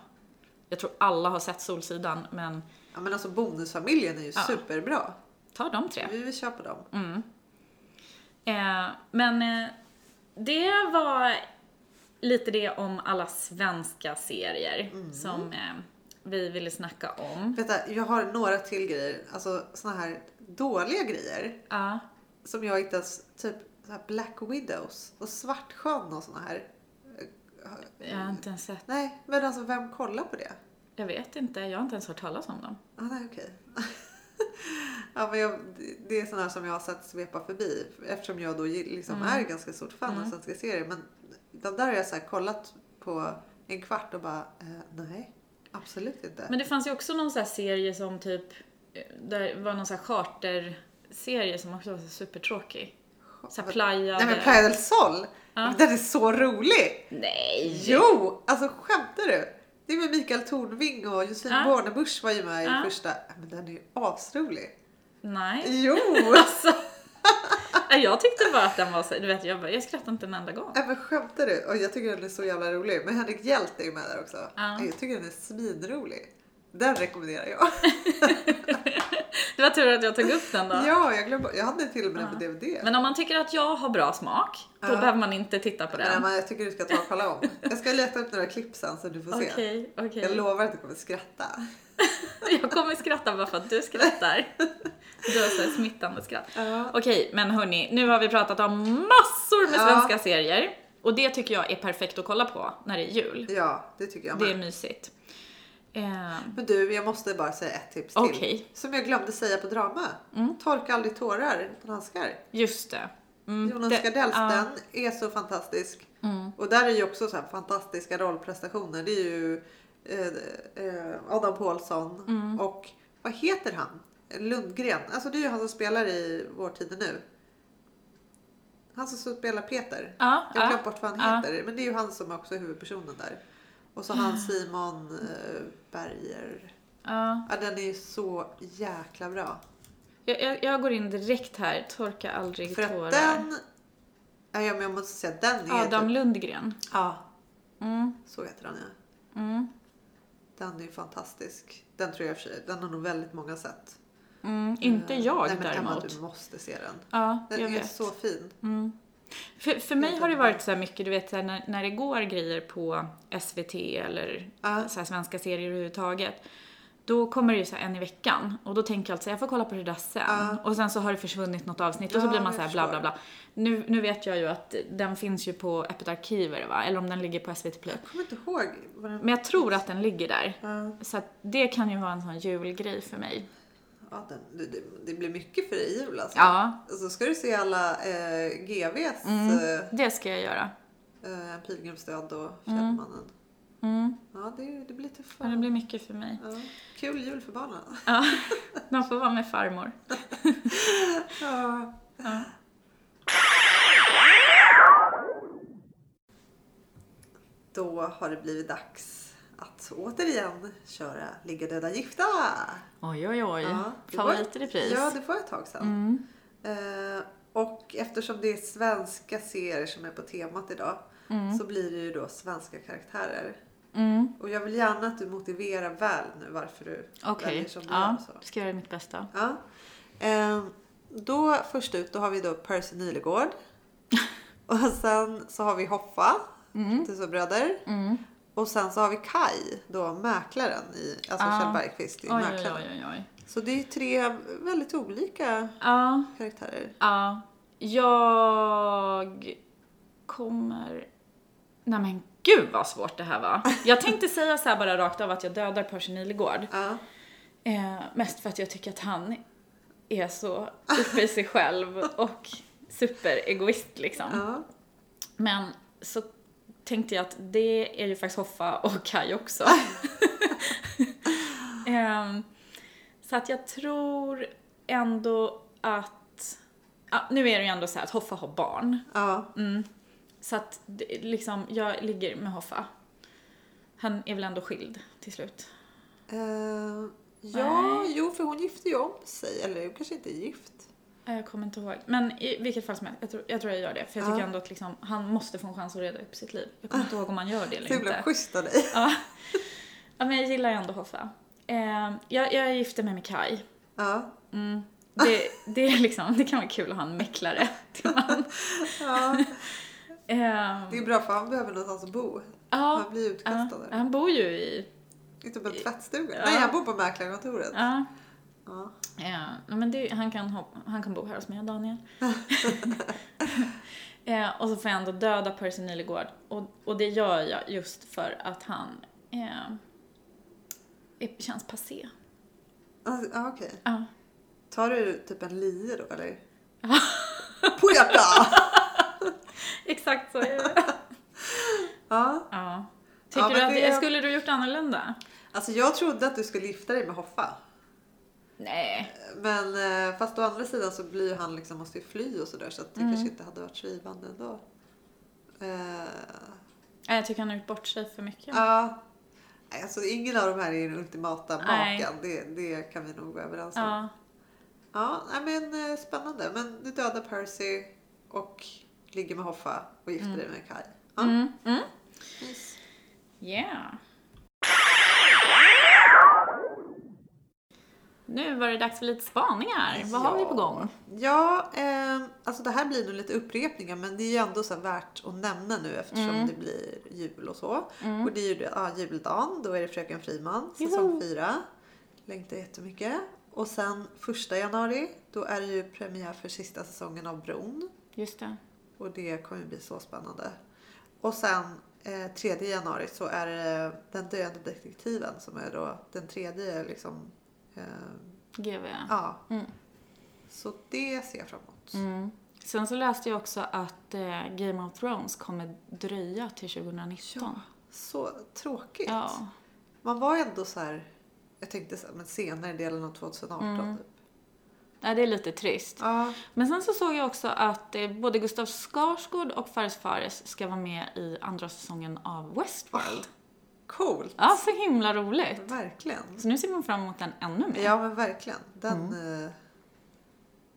Speaker 2: Jag tror alla har sett Solsidan, men
Speaker 1: Ja, men alltså Bonusfamiljen är ju superbra.
Speaker 2: ta de tre.
Speaker 1: Vi vill köpa dem.
Speaker 2: Eh, men eh, det var lite det om alla svenska serier
Speaker 1: Mm.
Speaker 2: som eh, vi ville snacka om.
Speaker 1: Vänta, jag har några till grejer. Alltså såna här dåliga grejer.
Speaker 2: Ja.
Speaker 1: Som jag inte ens, typ så här Black Widows och Svartsjön och såna här.
Speaker 2: jag har inte ens sett,
Speaker 1: Nej, men alltså vem kollar på det?
Speaker 2: jag vet inte, jag har inte ens hört talas om dem.
Speaker 1: Ah, nej, okej. *laughs* ja, men jag, det är såna här som jag har sett svepa förbi. Eftersom jag då gi- liksom
Speaker 2: Mm.
Speaker 1: är ganska stort fan av svenska serier. Men de där har jag så här kollat på en kvart och bara, eh, nej, absolut inte.
Speaker 2: Men det fanns ju också någon sån här serie som typ, eh, där var någon sån här charterserie som också var så supertråkig. Så här Playa
Speaker 1: nej, men
Speaker 2: del-
Speaker 1: Playa del Sol! Den är så rolig!
Speaker 2: Nej!
Speaker 1: Jo! Alltså skämtar du? Det är med Mikael Tornving och Josefin
Speaker 2: Ja.
Speaker 1: Bornebusch var ju med i
Speaker 2: Ja.
Speaker 1: första. Men den är ju asrolig.
Speaker 2: Nej.
Speaker 1: Jo!
Speaker 2: *laughs* Alltså, nej, jag tyckte bara att den var så, du vet jag, bara, jag skrattade inte en enda gång.
Speaker 1: Nej, men skämtar du? Och jag tycker den är så jävla rolig. Men Henrik Hjält är ju med där också.
Speaker 2: Ja.
Speaker 1: Jag tycker den är svinrolig. Den rekommenderar jag.
Speaker 2: Det var tur att jag tog upp den då.
Speaker 1: *laughs* Ja, jag glömde. Jag hade till och med den på DVD. Men,
Speaker 2: Men om man tycker att jag har bra smak, då
Speaker 1: Ja.
Speaker 2: behöver man inte titta på den.
Speaker 1: men jag tycker du ska ta och kolla om. Jag ska leta upp några klipp sen så du får se.
Speaker 2: Okej, okej.
Speaker 1: Jag lovar att du kommer skratta.
Speaker 2: *laughs* Jag kommer skratta bara för att du skrattar. Du har så här smittande skratt.
Speaker 1: Ja.
Speaker 2: Okej, men hörni, nu har vi pratat om massor med
Speaker 1: Ja.
Speaker 2: svenska serier. Och det tycker jag är perfekt att kolla på när det är jul.
Speaker 1: Ja, det tycker jag
Speaker 2: Det är
Speaker 1: med.
Speaker 2: mysigt. Eh,
Speaker 1: Men du, jag måste bara säga ett tips till.
Speaker 2: Okej. Mm.
Speaker 1: Som jag glömde säga på drama. Torka aldrig tårar utan handskar.
Speaker 2: just det. Mm,
Speaker 1: Jonas
Speaker 2: det-
Speaker 1: Gardells,
Speaker 2: ja. mm.
Speaker 1: den är så fantastisk. Och där är ju också så här fantastiska rollprestationer. Det är ju eh, eh, Adam Pålsson
Speaker 2: Mm.
Speaker 1: och vad heter han? Lundgren. Alltså det är ju han som spelar i Vår tid är nu. Han som spelar Peter.
Speaker 2: Ja,
Speaker 1: Jag har
Speaker 2: ja.
Speaker 1: glömt bort vad han
Speaker 2: ja.
Speaker 1: heter. Men det är ju han som också är huvudpersonen där. Och så han Simon eh, Berger.
Speaker 2: ja.
Speaker 1: Ja, den är ju så jäkla bra.
Speaker 2: Jag, jag, jag går in direkt här, torka aldrig
Speaker 1: För
Speaker 2: tårar.
Speaker 1: att den... Ja, men jag måste säga att den är
Speaker 2: Adam
Speaker 1: typ...
Speaker 2: Lundgren.
Speaker 1: Ja,
Speaker 2: Mm,
Speaker 1: så heter han ja.
Speaker 2: mm,
Speaker 1: Den är ju fantastisk. Den tror jag i och för sig, den har nog väldigt många sett.
Speaker 2: mm. Inte
Speaker 1: Eh,
Speaker 2: jag
Speaker 1: Nej, men Emma,
Speaker 2: däremot.
Speaker 1: du måste se den.
Speaker 2: Ja,
Speaker 1: Den
Speaker 2: jag
Speaker 1: är
Speaker 2: vet.
Speaker 1: så fin.
Speaker 2: Mm. För, för mig har det varit så här mycket, du vet så här, när, när det går grejer på SVT eller
Speaker 1: Ja.
Speaker 2: så här, svenska serier överhuvudtaget. Då kommer det ju så här en i veckan och då tänker jag alltid så här, jag får kolla på det där sen.
Speaker 1: Ja.
Speaker 2: Och sen så har det försvunnit något avsnitt och så
Speaker 1: Ja,
Speaker 2: blir man
Speaker 1: jag
Speaker 2: så här bla
Speaker 1: förstår.
Speaker 2: bla bla. Nu, nu vet jag ju att den finns ju på Öppet arkiv är det, va? Eller om den ligger på SVT Play.
Speaker 1: Jag kommer inte ihåg vad den...
Speaker 2: Men jag tror att den ligger där.
Speaker 1: Ja.
Speaker 2: Så att det kan ju vara en sån julgrej för mig.
Speaker 1: Ja, den, det, det- det blir mycket för dig i jul alltså.
Speaker 2: Ja,
Speaker 1: Så ska du se alla eh, GVs
Speaker 2: Mm.
Speaker 1: eh,
Speaker 2: det ska jag göra.
Speaker 1: eh, Pilgrimsdöd och Fjällmannen.
Speaker 2: Mm.
Speaker 1: Ja, det, det blir
Speaker 2: Ja, det
Speaker 1: tuffare.
Speaker 2: blir mycket för mig.
Speaker 1: Ja. Kul jul för barnen.
Speaker 2: Ja, de får vara med farmor.
Speaker 1: Ja. Då har det blivit dags att återigen köra Ligga döda gifta.
Speaker 2: Oj, oj, oj.
Speaker 1: Ja, det var-
Speaker 2: Favorit i repris.
Speaker 1: Ja, det var ett tag sedan.
Speaker 2: Mm.
Speaker 1: Eh, och eftersom det är svenska serier som är på temat idag så blir det ju då svenska karaktärer.
Speaker 2: Mm.
Speaker 1: Och jag vill gärna att du motiverar väl nu varför du
Speaker 2: Okej,
Speaker 1: väljer som alltså. du
Speaker 2: ja.
Speaker 1: gör. Så.
Speaker 2: Ska göra mitt bästa.
Speaker 1: Ja. Ehm, då först ut då har vi då Percy
Speaker 2: *laughs*
Speaker 1: Nilegård. och sen så har vi Hoffa, Tussebröder. bröder.
Speaker 2: Mm.
Speaker 1: Och sen så har vi Kai, då mäklaren, i, alltså
Speaker 2: Ja.
Speaker 1: Kjell Bergqvist i
Speaker 2: Oj, oj,
Speaker 1: Mäklaren.
Speaker 2: oj, oj, oj.
Speaker 1: Så det är ju tre väldigt olika
Speaker 2: Ja,
Speaker 1: karaktärer.
Speaker 2: ja. Jag kommer... Nej men gud vad svårt det här var. Jag tänkte säga så här bara rakt av att jag dödar Percy Nilegård.
Speaker 1: Ja.
Speaker 2: Eh, mest för att jag tycker att han är så uppe i sig själv och superegoist liksom.
Speaker 1: Ja.
Speaker 2: Men så tänkte jag att det är ju faktiskt Hoffa och Kai också. Ehm, så att jag tror ändå att... Ja, nu är det ju ändå så här att Hoffa har barn. Mm.
Speaker 1: ja.
Speaker 2: Så att det, liksom, jag ligger med Hoffa. Han är väl ändå skild till slut.
Speaker 1: Ehm, ja,
Speaker 2: Nej.
Speaker 1: jo för hon gifte ju om sig. Eller hon kanske inte är gift.
Speaker 2: Nej, Eh, Jag kommer inte ihåg. Men i vilket fall som helst, jag tror jag, tror jag gör det. För jag tycker
Speaker 1: Ja.
Speaker 2: ändå att liksom, han måste få en chans att reda upp sitt liv. Jag kommer inte ihåg om han gör det
Speaker 1: Så
Speaker 2: eller
Speaker 1: himla
Speaker 2: inte.
Speaker 1: schysst av dig.
Speaker 2: Ja. ja, men jag gillar ju ändå Hoffa. Eh, jag, jag gifte mig med Kai.
Speaker 1: Ja.
Speaker 2: Mm. Det, det, är liksom, det kan vara kul att ha en mäklare till man.
Speaker 1: ja.
Speaker 2: Eh,
Speaker 1: Det är bra för han behöver någonstans att bo.
Speaker 2: ja,
Speaker 1: Han blir
Speaker 2: ja,
Speaker 1: utkastad där.
Speaker 2: han bor ju i...
Speaker 1: Inte på typ en tvättstuga?
Speaker 2: Ja.
Speaker 1: Nej, han bor på mäklarkontoret. Ja.
Speaker 2: Ja, eh, ja, men det, han, kan hop, han kan bo här hos
Speaker 1: *laughs*
Speaker 2: mig, Daniel. eh, och så får jag ändå döda Percy Nilegård. Och, och det gör jag just för att han eh, är, känns passé.
Speaker 1: Alltså, ja, okej.
Speaker 2: Ja.
Speaker 1: Tar du typ en lie då
Speaker 2: *laughs*
Speaker 1: eller? Poeta!
Speaker 2: Exakt så är det.
Speaker 1: Ja.
Speaker 2: Ja. Tycker
Speaker 1: Ja, men
Speaker 2: du att
Speaker 1: det är-
Speaker 2: skulle du gjort annorlunda?
Speaker 1: Alltså jag trodde att du skulle gifta dig med Hoffa.
Speaker 2: Nej.
Speaker 1: Men eh, fast å andra sidan så blir ju han liksom, måste ju fly och sådär så att det
Speaker 2: Mm.
Speaker 1: kanske inte hade varit så givande ändå. Eh,
Speaker 2: Nej, Jag tycker han har gjort bort sig för mycket.
Speaker 1: ja. Nej, Alltså ingen av de här är den ultimata
Speaker 2: Nej.
Speaker 1: maken. Det, det kan vi nog vara överens om. Ja,
Speaker 2: Ja.
Speaker 1: nej, men eh, spännande. Men du dödar Percy och ligger med Hoffa och gifter dig med Kai. Ja.
Speaker 2: Mm. Mm.
Speaker 1: Nice.
Speaker 2: Yeah. Nu var det dags för lite spaningar. Vad har vi på gång?
Speaker 1: Ja, ehm, alltså det här blir nog lite upprepningar men det är ju ändå så här värt att nämna nu eftersom
Speaker 2: Mm.
Speaker 1: det blir jul och så. Och det är ju det- ja, juldagen, då är det Fröken Friman, säsong
Speaker 2: Juhu.
Speaker 1: 4. Längtar jättemycket. Och sen första januari, då är det ju premiär för sista säsongen av Bron.
Speaker 2: Just det.
Speaker 1: Och det kommer ju bli så spännande. Och sen eh, 3 januari så är det Den döende detektiven som är då den tredje liksom, eh,
Speaker 2: GV.
Speaker 1: ja.
Speaker 2: Mm.
Speaker 1: Så det ser jag fram emot.
Speaker 2: Mm. Sen så läste jag också att eh, Game of Thrones kommer dröja till 2019.
Speaker 1: Så tråkigt.
Speaker 2: Ja.
Speaker 1: Man var ändå så här, jag tänkte så här, men senare delen av 2018
Speaker 2: Mm.
Speaker 1: typ.
Speaker 2: ja, det är lite trist.
Speaker 1: Ja,
Speaker 2: Men sen så såg jag också att eh, både Gustav Skarsgård och Fares Fares ska vara med i andra säsongen av Westworld.
Speaker 1: coolt.
Speaker 2: Ja, Mm. så himla roligt.
Speaker 1: Verkligen.
Speaker 2: Så nu ser man fram emot den ännu mer.
Speaker 1: Ja men verkligen. Den, eh,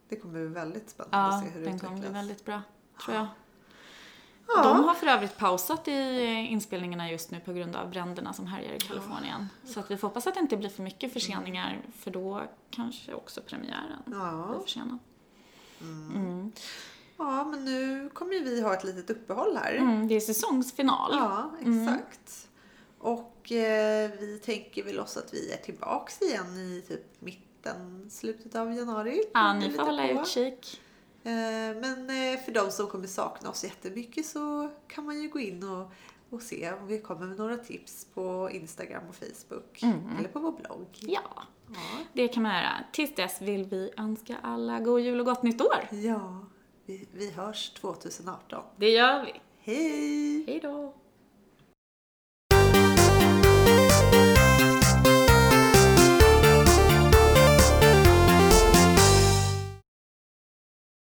Speaker 1: det kommer bli väldigt spännande
Speaker 2: Mm. Ja,
Speaker 1: att se hur det
Speaker 2: den kommer
Speaker 1: utvecklas.
Speaker 2: bli väldigt bra, tror jag.
Speaker 1: Ja.
Speaker 2: De har för övrigt pausat i eh, inspelningarna just nu på grund av bränderna som härjar i Kalifornien. Så att vi får hoppas att det inte blir för mycket förseningar, för då kanske också premiären blir
Speaker 1: Ja. Mm.
Speaker 2: försenad. Mm.
Speaker 1: ja, men nu kommer ju vi ha ett litet uppehåll här.
Speaker 2: Mm, det är säsongsfinal.
Speaker 1: Ja, exakt. Och eh, vi tänker väl oss att vi är tillbaks igen i typ mitten, slutet av januari.
Speaker 2: Ja,
Speaker 1: Det är
Speaker 2: ni
Speaker 1: lite
Speaker 2: får hålla
Speaker 1: på.
Speaker 2: utkik.
Speaker 1: Eh, Men eh, för de som kommer sakna oss jättemycket så kan man ju gå in och, och se om vi kommer med några tips på Instagram och Facebook. Eller på vår blogg.
Speaker 2: Mm. Ja,
Speaker 1: Ja.
Speaker 2: det kan man göra. Tills dess vill vi önska alla god jul och gott nytt år.
Speaker 1: Ja, vi, vi hörs 2018.
Speaker 2: Det gör vi.
Speaker 1: Hej!
Speaker 2: Hej då!